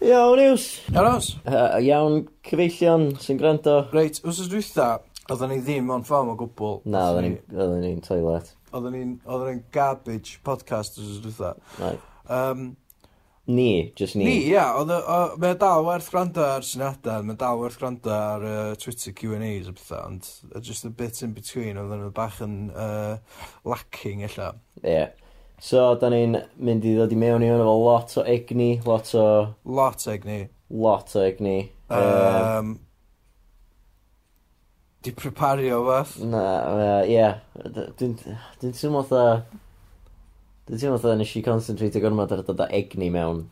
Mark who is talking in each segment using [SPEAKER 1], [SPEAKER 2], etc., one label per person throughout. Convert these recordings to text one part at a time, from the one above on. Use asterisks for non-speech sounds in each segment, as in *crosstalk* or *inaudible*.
[SPEAKER 1] Iawn iws.
[SPEAKER 2] Aros,
[SPEAKER 1] Uh, iawn cyfeillion sy'n gwrando.
[SPEAKER 2] reit, wrth dwytha, oedden ni ddim on ffordd o gwbl.
[SPEAKER 1] Na, oedden ni'n- oedden ni'n toilet.
[SPEAKER 2] Oedden ni'n oedden ni'n garbage podcast wrth dwytha.
[SPEAKER 1] Right.
[SPEAKER 2] Um,
[SPEAKER 1] Ni, just ni.
[SPEAKER 2] ni, ia, oedd y- o- mae dal werth gwrando ar syniadau, mae dal werth gwrando ar uh, Twitter Q&As a pethau, ond uh, just a bit in between, oedden nhw bach yn uh, lacking, illa.
[SPEAKER 1] Ie. Yeah. So, da ni'n mynd i ddod i mewn i hwn efo lot o egni, lot o...
[SPEAKER 2] Lot ag ni.
[SPEAKER 1] lot o egni. Uh,
[SPEAKER 2] Um, di prepario fath.
[SPEAKER 1] na, yy, ie. D- Dwi'n dwi'n teimlo fatha... Dwi'n teimlo fatha nes i concentrate o gormod ar dod â egni mewn.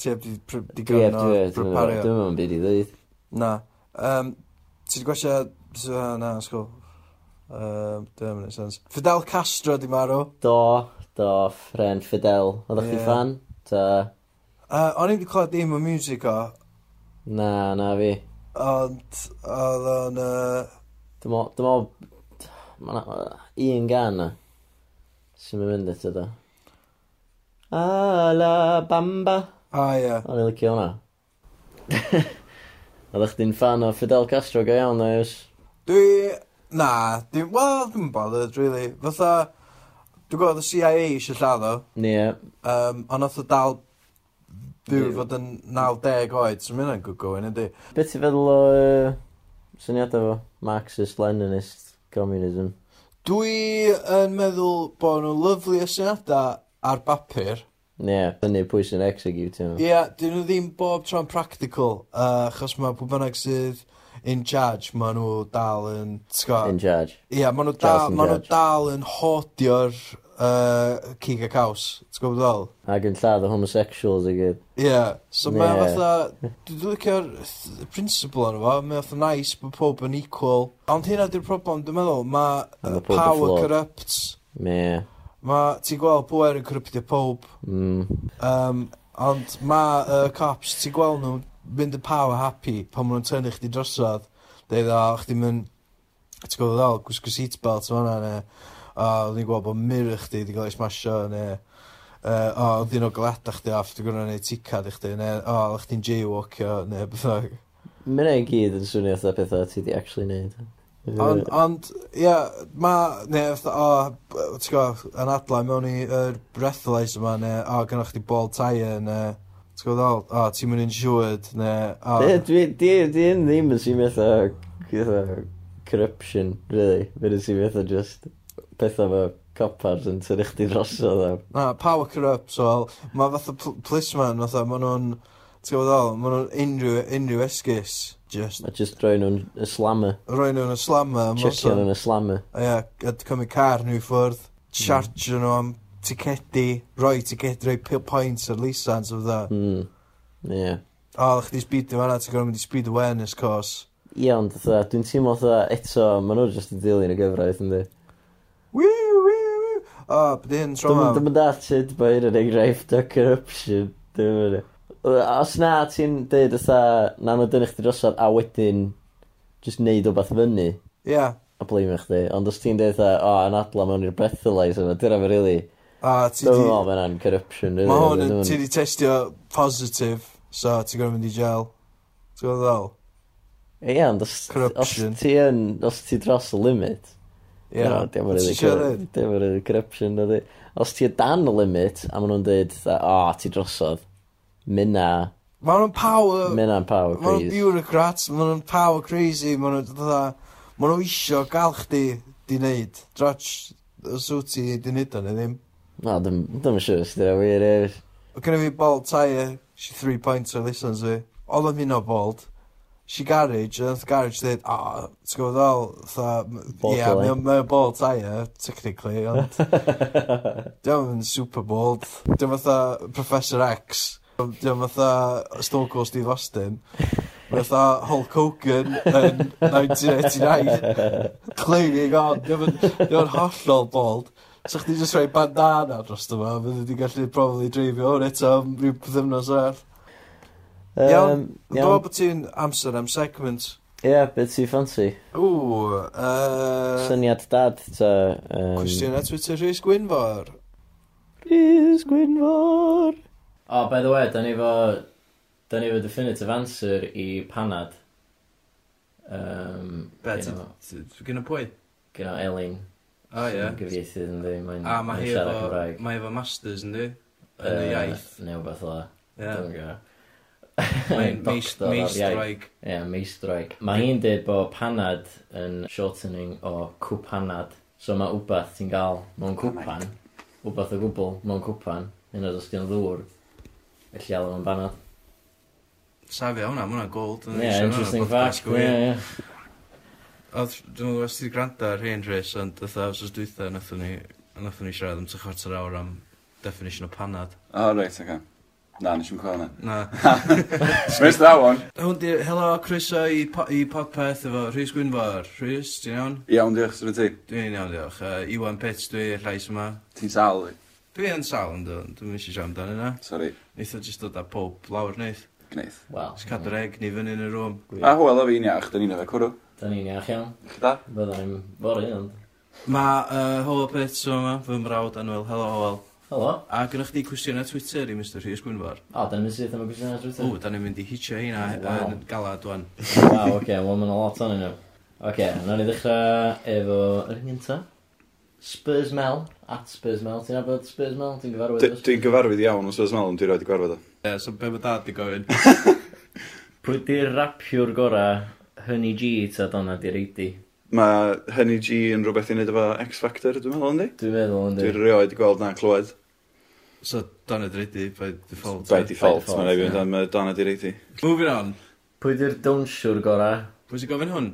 [SPEAKER 2] Ti heb di, pre, di
[SPEAKER 1] Dwi
[SPEAKER 2] gan
[SPEAKER 1] ef,
[SPEAKER 2] o
[SPEAKER 1] dwi ef, dwi'n
[SPEAKER 2] prepario.
[SPEAKER 1] meddwl byd i ddweud.
[SPEAKER 2] Na. Um, ti wedi gwella... s- uh, Na, sgol. Um, Dwi'n mynd sens. Fidel Castro di marw.
[SPEAKER 1] Do, do, ffren Fidel. Oeddech chi
[SPEAKER 2] Ie.
[SPEAKER 1] fan? Ta,
[SPEAKER 2] Uh, o'n i wedi clywed dim o music o,
[SPEAKER 1] na, na fi.
[SPEAKER 2] ond oedd o'n... Uh,
[SPEAKER 1] Dwi'n meddwl- dwi'n meddwl... Mae na yy, un gan na. Sy'n mynd mynd eto do. A la bamba.
[SPEAKER 2] a ie.
[SPEAKER 1] O'n i licio hwnna. Oeddech chdi'n fan o Fidel Castro go iawn, oes?
[SPEAKER 2] Dwi... Na, dwi... Wel, dwi'n bothered, really. Fatha... Dwi'n gwybod y CIA eisiau lladd o,
[SPEAKER 1] Ie.
[SPEAKER 2] um, ond oedd o dal... Dwi'n
[SPEAKER 1] Byw.
[SPEAKER 2] fod yn 90 oed, so mynd yn gwgwyn, ydy.
[SPEAKER 1] Be ti'n feddwl o yy, syniadau fo? Marxist, Leninist, Communism.
[SPEAKER 2] Dwi yn meddwl bod nhw'n lyflu syniadau ar bapur,
[SPEAKER 1] Ie, fyny pwy sy'n execute
[SPEAKER 2] Ie,
[SPEAKER 1] nhw.
[SPEAKER 2] yeah, dyn nhw ddim bob tro'n practical, uh, achos mae pwy bynnag sydd in charge, maen nhw dal yn...
[SPEAKER 1] In
[SPEAKER 2] Ie,
[SPEAKER 1] charge.
[SPEAKER 2] yeah, maen nhw
[SPEAKER 1] Charles
[SPEAKER 2] dal,
[SPEAKER 1] in
[SPEAKER 2] ma nhw
[SPEAKER 1] charge.
[SPEAKER 2] dal yn hodio'r uh, cig a caws, ti'n gwybod ddol?
[SPEAKER 1] Ac yn lladd o homosexuals i gyd.
[SPEAKER 2] Ie, yeah, so mae
[SPEAKER 1] Ie.
[SPEAKER 2] fatha, dwi'n licio'r th- principle o'n fo, mae fatha nice bod pob yn equal, ond hynna di'r problem, dwi'n meddwl, mae
[SPEAKER 1] Ma'
[SPEAKER 2] uh,
[SPEAKER 1] powb yn
[SPEAKER 2] power
[SPEAKER 1] flawed.
[SPEAKER 2] corrupts,
[SPEAKER 1] Ie.
[SPEAKER 2] mae, ti'n gweld, pwer yn corruptio pob,
[SPEAKER 1] Mm.
[SPEAKER 2] Um, ond mae uh, cops, ti'n gweld nhw mynd y power happy pan maen nhw'n tynnu chdi drosodd. Deud o, chdi mynd, ti'n gweld ddol, gwisgo seatbelt o hwnna, neu, o, ni'n gweld bod mirror chdi wedi cael ei smasho, neu, uh, o, ddyn o gleda chdi off, dwi'n gwrdd neud ticad i chdi, neu, o, o'ch chdi'n jaywalkio, neu beth bynnag.
[SPEAKER 1] Mae yna i gyd yn swnio fatha pethau ti di actually neud.
[SPEAKER 2] Ond, ond, ie, ma, neu, fatha, o, ti'n gwybod, yn adlau mewn i yr breathalyzer yma, neu, o, gynnwch chi ball tyre, neu, ti'n gwybod, o, o, ti'n mynd insured, neu, o,
[SPEAKER 1] Ie, dwi, di, di yn ddim yn sy'n fatha, fatha corruption, really. Mae'n sy'n fatha just pethau fo copars yn tynnu chdi drosodd am.
[SPEAKER 2] na, power corrupts, so, wel, ma fatha pl- policeman, fatha, ma nhw'n, ti'n gwybod, o, ma nhw'n unrhyw, unrhyw esgus, just,
[SPEAKER 1] A just droi nhw'n y slammer,
[SPEAKER 2] roi nhw'n y slammer, ma
[SPEAKER 1] checio
[SPEAKER 2] fatha,
[SPEAKER 1] nhw'n y slammer.
[SPEAKER 2] ie, gyd cymryd car nhw i ffwrdd, charge nhw am ticedi, roi ticedi, roi pil points ar lisans, fatha,
[SPEAKER 1] Mm. Ie.
[SPEAKER 2] O, oh, chdi speed yma na, ti'n gorfod mynd i speed awareness course.
[SPEAKER 1] Ie, ond fatha, dwi'n teimlo fatha eto, maen nhw'n just yn dilyn y gyfraith yndi.
[SPEAKER 2] Wiw, wiw, wiw. O, oh, byd hyn tro
[SPEAKER 1] Dwi'n
[SPEAKER 2] yma.
[SPEAKER 1] dwi'n dall sut mae hyn yn enghraifft o corruption. Dwi'n mynd. Os na ti'n dweud fatha, na nhw dynnu chdi drosodd a wedyn just neud o beth fyny
[SPEAKER 2] Ie.
[SPEAKER 1] a blaimio chdi. Ond os ti'n dweud fatha, o, yn adla mewn i'r breathalyzer yma, dyna fe rili.
[SPEAKER 2] A ti
[SPEAKER 1] Dwi'n
[SPEAKER 2] di...
[SPEAKER 1] meddwl mae hwnna'n corruption. rili.
[SPEAKER 2] Mae hwn yn...
[SPEAKER 1] Dwi'n-
[SPEAKER 2] Ti di testio positive, so ti'n gorfod mynd i jail. Ti'n gorfod ddol?
[SPEAKER 1] Ie, ond os, os
[SPEAKER 2] Corruption.
[SPEAKER 1] ti yn, os ti dros y limit,
[SPEAKER 2] Ie.
[SPEAKER 1] No, dim ond
[SPEAKER 2] Ti'n siarad?
[SPEAKER 1] rili- dim ond rili corruption ydy. Os ti o dan y limit, a maen nhw'n dweud, o, ti drosodd, mynna,
[SPEAKER 2] Mae nhw'n power... Mae
[SPEAKER 1] mynna'n power
[SPEAKER 2] nhw'n
[SPEAKER 1] crazy.
[SPEAKER 2] bureaucrats, mae nhw'n power crazy, mae nhw'n dda... Mae nhw isio gael chdi di wneud. Drotch, os wyt ti di wneud o neu ddim.
[SPEAKER 1] Na, dim dim yn siŵr, sydd wedi wir er.
[SPEAKER 2] Oedd gen i fi bald tyre, she three points o'r listens fi. Oedd o'n mynd o bald. She garage, a oedd garage dweud, a, oh, ti'n gwybod ddol, tha,
[SPEAKER 1] Bald
[SPEAKER 2] yeah,
[SPEAKER 1] tyre.
[SPEAKER 2] mae'n mae bald tyre, technically, ond diolch yn super bald. Diolch fatha Professor X, diolch fatha Stone Cold Steve Austin, mae fatha Hulk Hogan yn 1989, clinging on, diolch hollol bald. So chdi jyst rhoi bandana dros yma, fyddi di gallu probably dreifio hwn eto am rhyw bythymnos ar. Iawn, Dwi'n meddwl
[SPEAKER 1] Iawn,
[SPEAKER 2] bod ti'n amser am segment.
[SPEAKER 1] ie, beth ti ffansi?
[SPEAKER 2] Ww, uh,
[SPEAKER 1] Syniad dad, ta... yym,
[SPEAKER 2] cwestiwn at Twitter Rhys Gwynfor.
[SPEAKER 1] Rhys Gwynfor. O, by the way, da ni fo Da ni efo definitive answer i panad. Um,
[SPEAKER 3] Be, Gyn y pwy?
[SPEAKER 1] Gyno Elin.
[SPEAKER 3] O ie.
[SPEAKER 1] sy'n Gyfieithydd yn dweud, mae'n
[SPEAKER 3] A mae hi
[SPEAKER 1] mae'n siarad
[SPEAKER 3] efo,
[SPEAKER 1] Cymraeg.
[SPEAKER 3] mae efo masters yn di? Yn y
[SPEAKER 1] Yy,
[SPEAKER 3] iaith.
[SPEAKER 1] Neu wbeth o.
[SPEAKER 3] Ie.
[SPEAKER 1] Dwi'n gwybod. *laughs*
[SPEAKER 3] Mae'n meist-
[SPEAKER 1] Doctor o'r iaith.
[SPEAKER 3] meistraig.
[SPEAKER 1] Ie, meistraig. Mae hi'n dweud bod panad yn shortening o cwpanad. So mae wbeth ti'n gael mewn cwpan, wbeth o gwbl mewn cwpan, hyn oed os ti'n ddŵr, gallu alw yn banad.
[SPEAKER 3] Safi, hwnna, ma' hwnna gold.
[SPEAKER 1] Ie, interesting fact. Ie, ie.
[SPEAKER 3] Oedd, dwi'n gwybod os ti wedi gwrando ar hen rhys, ond dda os oes dwytha, nathon ni, nathon ni siarad am ty chwarter awr am definition o panad.
[SPEAKER 4] O, reit, oce. Na, nes i'n cwel na.
[SPEAKER 3] Na.
[SPEAKER 4] *laughs* Where's that one?
[SPEAKER 3] Hwn di, helo, croeso i, po i podpeth efo Rhys Gwynfor. Rhys, ti'n iawn?
[SPEAKER 4] Iawn, diolch, sy'n ti.
[SPEAKER 3] Dwi'n iawn, diolch. Uh, Iwan Pits, dwi llais yma.
[SPEAKER 4] Ti'n sal, i.
[SPEAKER 3] Dwi yn sal yn dod, dwi'n eisiau siarad amdano yna.
[SPEAKER 4] Sorry,
[SPEAKER 3] Neitha jyst dod â pob lawr neith.
[SPEAKER 4] gneith.
[SPEAKER 1] Wel,
[SPEAKER 3] Jyst cadw'r egg ni fyny yn y rŵm.
[SPEAKER 4] A hwyl o fi'n iach, da ni'n efo cwrw.
[SPEAKER 1] da ni'n iach iawn.
[SPEAKER 4] Chi da?
[SPEAKER 1] Bydda ni'n bori, ond.
[SPEAKER 3] Mae uh, Howell Pits yma, fy mrawd Anwyl. Helo, Howell.
[SPEAKER 1] Helo.
[SPEAKER 3] A gynnwch chi cwestiwn ar Twitter i Mr Rhys Gwynfor.
[SPEAKER 1] O, da ni'n mynd syth am y gwestiwn ar
[SPEAKER 3] O,
[SPEAKER 1] Twitter.
[SPEAKER 3] da ni'n mynd i hitio heina
[SPEAKER 1] Wow.
[SPEAKER 3] yn galad wan.
[SPEAKER 1] Waw, oce, wel mae'n lot o'n nhw. Oce, na ni ddechrau efo yr un gynta. Spurs Mel, at Spurs Mel. Ti'n abod Spurs Mel? Ti'n gyfarwydd? efo
[SPEAKER 4] Dwi'n gyfarwydd iawn, os oes melwn, dwi'n rhaid i gwarfod o.
[SPEAKER 3] Ie, so be mae dad i gofyn.
[SPEAKER 1] Pwy di'r rapiwr gorau Honey G ta Donna di Reidi?
[SPEAKER 4] Mae Honey G yn rhywbeth i wneud efo X Factor, dwi'n meddwl, yndi?
[SPEAKER 1] Dwi'n meddwl yn
[SPEAKER 4] Dwi'n rhaid i gweld na clywed.
[SPEAKER 3] So, Donna Drydy, by default.
[SPEAKER 4] By
[SPEAKER 1] default,
[SPEAKER 4] default, mae'n rhaid i
[SPEAKER 1] ie.
[SPEAKER 4] fynd am yy, Donna di reiti.
[SPEAKER 3] Moving on.
[SPEAKER 1] Pwy di'r donsiwr gorau
[SPEAKER 3] Pwy sy'n gofyn hwn?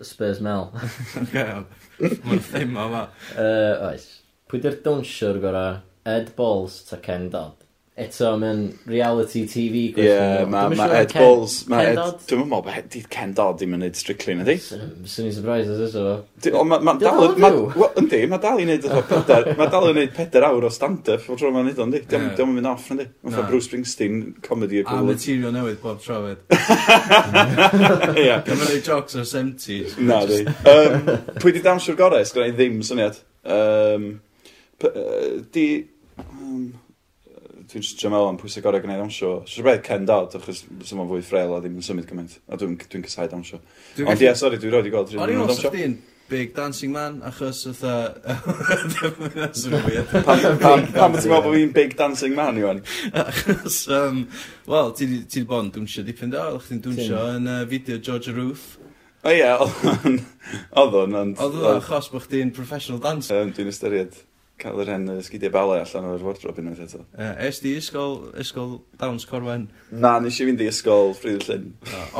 [SPEAKER 3] *laughs*
[SPEAKER 1] Spurs Mel?
[SPEAKER 4] *laughs*
[SPEAKER 3] Oce, iawn. Mae'n thema yma.
[SPEAKER 1] uh, oes. Pwy di'r donsiwr gorau Ed Balls ta Ken Dodd? Eto, mae'n reality TV
[SPEAKER 4] Ie,
[SPEAKER 1] gwestiwn. Dwi'm
[SPEAKER 4] mae
[SPEAKER 1] yn
[SPEAKER 4] ma
[SPEAKER 1] siŵr
[SPEAKER 4] Ed
[SPEAKER 1] Ken-
[SPEAKER 4] Balls... ma'
[SPEAKER 1] Ken
[SPEAKER 4] Ed-
[SPEAKER 1] Dodd?
[SPEAKER 4] Dwi'n meddwl bod Ed- Ken Dodd ddim yn neud strictly na di.
[SPEAKER 1] Swn swn i'n surprised os ysio fo.
[SPEAKER 4] Di- Ond mae'n ma
[SPEAKER 1] Di o
[SPEAKER 4] dal...
[SPEAKER 1] dal yn
[SPEAKER 4] ma-
[SPEAKER 1] fyw?
[SPEAKER 4] wel, Yndi, mae dal i wneud fatha pedair... Mae dal i wneud pedair awr o stand-up o'r tro mae'n neud o'n di. Diolch
[SPEAKER 3] Ie.
[SPEAKER 4] yn mynd off, yndi. Mae'n
[SPEAKER 3] Na.
[SPEAKER 4] fatha Bruce Springsteen comedy y
[SPEAKER 3] A
[SPEAKER 4] gwybod.
[SPEAKER 3] material newydd bob trafod.
[SPEAKER 4] Ie.
[SPEAKER 3] Dwi'n mynd i jocs o'r 70s.
[SPEAKER 4] Na, di. Um, pwy di dawnsio gorau, sgwrna i ddim syniad. Um, p- yy, di... Um, dwi'n just jamel am pwysau gorau gwneud dawnsio. Sŵr beth Ken Dodd, achos sy'n fwy ffrel a ddim yn symud cymaint. A dwi'n dwi casau dawnsio.
[SPEAKER 3] Dwi'n
[SPEAKER 4] Ond ie, sori, dwi'n rhaid i gweld
[SPEAKER 3] O'n i'n
[SPEAKER 4] rhywun yn
[SPEAKER 3] meddwl
[SPEAKER 4] dawnsio.
[SPEAKER 3] chdi'n big dancing man, achos ytha... *laughs* That's a weird.
[SPEAKER 4] Pam pam- pam ti'n meddwl bod fi'n big dancing man, Iwan?
[SPEAKER 3] *laughs* Achos, um, wel, ti wedi bod yn dwnsio dipyn da, oedd chdi'n dwnsio yn uh, fideo George Roof.
[SPEAKER 4] O ie, oedd o'n- oedd o'n, ond...
[SPEAKER 3] Oedd oedd achos bod chdi'n professional dancer.
[SPEAKER 4] Yym, Dwi'n ystyried cael yr hen yy, sgidiau balau allan o'r wardrobe unwaith eto.
[SPEAKER 3] Uh, es di ysgol, ysgol Downs Corwen.
[SPEAKER 4] Na, nes i fynd i ysgol Ffridd Llyn.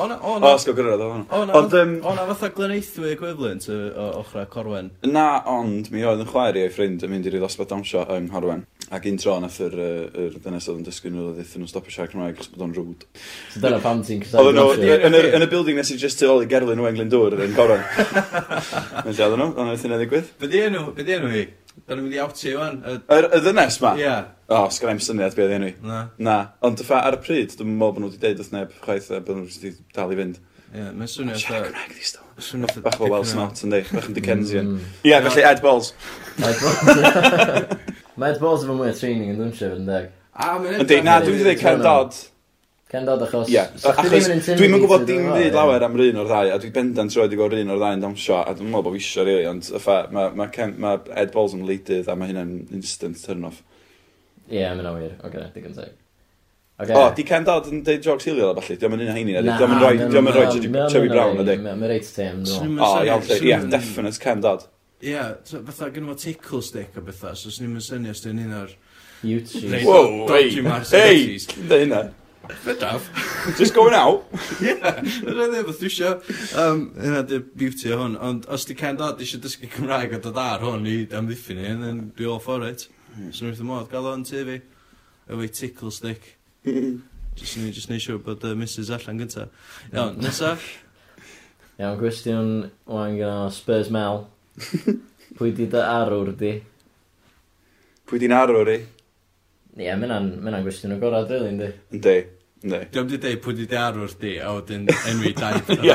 [SPEAKER 3] O na, o
[SPEAKER 4] O,
[SPEAKER 3] na.
[SPEAKER 4] ysgol gyrraedd o'n.
[SPEAKER 3] O na,
[SPEAKER 4] Ond, yym,
[SPEAKER 3] o na fatha gleneithwy equivalent o, o ochra Corwen.
[SPEAKER 4] Na, ond mi oedd yn chwaer i ei ffrind yn mynd i'r ddosbarth dawnsio yng Nghorwen. Ac un tro nath yr, yy, yr dynes oedd yn dysgu nhw ddethon nhw stopio siarad Cymraeg achos bod o'n rwd.
[SPEAKER 1] So dyna pam
[SPEAKER 4] *laughs*
[SPEAKER 1] ti'n
[SPEAKER 4] Oedd
[SPEAKER 1] cysadlu
[SPEAKER 4] nhw
[SPEAKER 1] donsiwr.
[SPEAKER 4] yn yr- yn y building nes i just tu ôl i Gerlin o Englyn Dŵr yn Gorwen. Mae'n siarad nhw, ond oedd hynna ddigwydd.
[SPEAKER 3] Be di enw, be di enw hi? Da ni'n mynd i awti o'n.
[SPEAKER 4] Yr y ddynes ma?
[SPEAKER 3] Ie,
[SPEAKER 4] O, sgan i'm syniad beth enw i.
[SPEAKER 3] na.
[SPEAKER 4] Na, ond ffa ar y pryd, dwi'n meddwl bod nhw wedi deud wrth neb chwaith a bod nhw wedi dal i fynd.
[SPEAKER 3] Ie, mae'n swnio fatha...
[SPEAKER 4] Siarad Cymraeg di stol.
[SPEAKER 3] Swnio fatha...
[SPEAKER 4] Bach o
[SPEAKER 3] dipyn
[SPEAKER 4] Welsh Mount yn di, bach yn Dickensian.
[SPEAKER 1] Mm.
[SPEAKER 4] Ie, felly Ed Balls.
[SPEAKER 1] Ed
[SPEAKER 4] *laughs*
[SPEAKER 1] Balls- Mae Ed Balls efo mwy o training yn dwnsio fy'n deg.
[SPEAKER 3] A, mae'n
[SPEAKER 4] Yndi, na, dwi wedi dweud Ken
[SPEAKER 1] Ie.
[SPEAKER 4] Dodd.
[SPEAKER 1] Ken Dodd achos...
[SPEAKER 4] Ie,
[SPEAKER 1] so chdi
[SPEAKER 4] achos
[SPEAKER 1] ddim yn
[SPEAKER 4] dwi'm yn gwybod
[SPEAKER 1] intimidated efo fo,
[SPEAKER 4] dim byd
[SPEAKER 1] ie?
[SPEAKER 4] lawer am rhan o'r ddau, a dwi bendant roed i gweld rhan o'r ddau yn dawnsio, a dwi'n meddwl bod fi eisiau rili, ond y ffa, mae ma, Ken- ma Ed Balls yn leidydd, a mae hynna'n instant turn-off.
[SPEAKER 1] Ie, mae'n awyr. Oce, digon teg. Oce.
[SPEAKER 4] O, di Ken Dodd yn deud jogs hiliol, a falle, diolch yn un o heini, na, di? diolch yn rhoi,
[SPEAKER 1] Na,
[SPEAKER 4] diolch yn
[SPEAKER 1] na,
[SPEAKER 4] rhoi
[SPEAKER 1] na,
[SPEAKER 4] Chubby- Chubby
[SPEAKER 1] na,
[SPEAKER 4] Brown,
[SPEAKER 1] na,
[SPEAKER 4] na di?
[SPEAKER 1] Mae mae reit tem, dwi'n
[SPEAKER 4] O, iawn, lle, ie, definite Ken Dodd.
[SPEAKER 3] Ie, so, fatha gynnu fo tickle stick o bethau, so swn i'n mynd syni os dyn un o'r...
[SPEAKER 1] YouTube.
[SPEAKER 3] Reit.
[SPEAKER 4] Wow,
[SPEAKER 3] Dodgy
[SPEAKER 4] hey,
[SPEAKER 3] Marcy
[SPEAKER 4] hey,
[SPEAKER 3] Dodgies.
[SPEAKER 4] dda hynna.
[SPEAKER 3] Fydraf!
[SPEAKER 4] Just going out.
[SPEAKER 3] Ie, yna ddim beth dwi isio. Um, yna dy beauty o hwn, ond os di Ken Dodd eisiau dysgu Cymraeg a dod ar hwn i amddiffyn i, then be all for it.
[SPEAKER 4] Hmm.
[SPEAKER 3] So nhw'n modd, gael o'n TV, efo'i tickle
[SPEAKER 4] *laughs*
[SPEAKER 3] stick. Just ni, just neud siŵr bod uh, Mrs allan gynta. Iawn, nesa,
[SPEAKER 1] Iawn, gwestiwn o'n gyda Spurs Mel. Pwy di dy arwr di?
[SPEAKER 4] Pwy di'n arw, ri?
[SPEAKER 1] Ie, mae'n gwestiwn o gorau, dwi'n di.
[SPEAKER 4] Yndi, yndi.
[SPEAKER 3] diolch di dweud pwy di di arwr di, a wedyn enwi
[SPEAKER 4] *laughs*
[SPEAKER 3] daith.
[SPEAKER 4] Ie,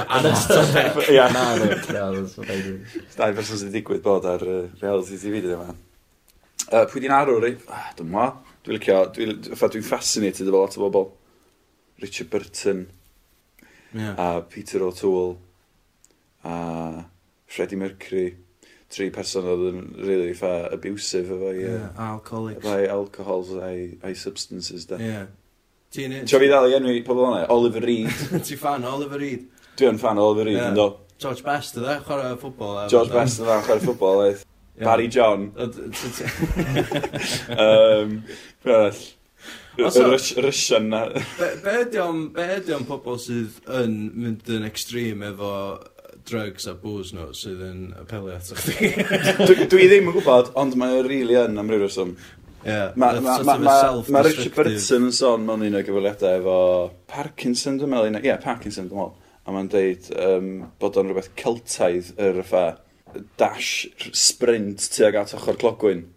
[SPEAKER 4] Ie,
[SPEAKER 1] Na, dwi'n di.
[SPEAKER 4] Dau person sy'n digwydd bod ar uh, reality TV dydy yma. Uh, pwy di'n arw, ri? Ah, dwi'n ma. Dwi'n licio, dwi'n dwi, dwi fascinated efo lot o bobl. Richard Burton
[SPEAKER 3] Ie.
[SPEAKER 4] a Peter O'Toole a Freddie Mercury. Tri person oedd yn really fa abusive efo'i
[SPEAKER 3] Ie,
[SPEAKER 4] yeah.
[SPEAKER 3] Alcoholics.
[SPEAKER 4] uh, alcohols a'i, ai substances da. Yeah.
[SPEAKER 3] Ie. Ti'n
[SPEAKER 4] Tro fi ddal i enwi pobl o'na, Oliver Reed.
[SPEAKER 3] *laughs* Ti'n fan o Oliver Reed.
[SPEAKER 4] Dwi yn fan o Oliver Reed,
[SPEAKER 3] Ie.
[SPEAKER 4] yeah. ynddo.
[SPEAKER 3] George Best ydde, chwarae ffwbol. a-
[SPEAKER 4] George Best yn fan chwer ffwbol, oedd.
[SPEAKER 3] Ie.
[SPEAKER 4] Barry John.
[SPEAKER 3] O, d- t- t-
[SPEAKER 4] Um, be arall? Y
[SPEAKER 3] Also-
[SPEAKER 4] Rus- Russian na.
[SPEAKER 3] Be be ydy o'n be ydy o'n pobol sydd yn mynd yn extreme efo drugs a booze nhw sydd yn apelio ato chdi?
[SPEAKER 4] *laughs* *laughs* Dwi dwi ddim yn gwybod, ond mae o rili yn am ryw reswm.
[SPEAKER 3] Ie,
[SPEAKER 4] Mae
[SPEAKER 3] that's
[SPEAKER 4] ma,
[SPEAKER 3] sort
[SPEAKER 4] ma,
[SPEAKER 3] of a
[SPEAKER 4] ma, ma Richard
[SPEAKER 3] self-destructive-
[SPEAKER 4] Burton yn sôn mewn un o'r gyfweliadau efo Parkinson, dwi'n meddwl, un o- ie, yeah, Parkinson, dwi'n meddwl. A mae'n deud um, bod o'n rhywbeth celtaidd yr effa dash r- sprint tuag at ochr clogwyn.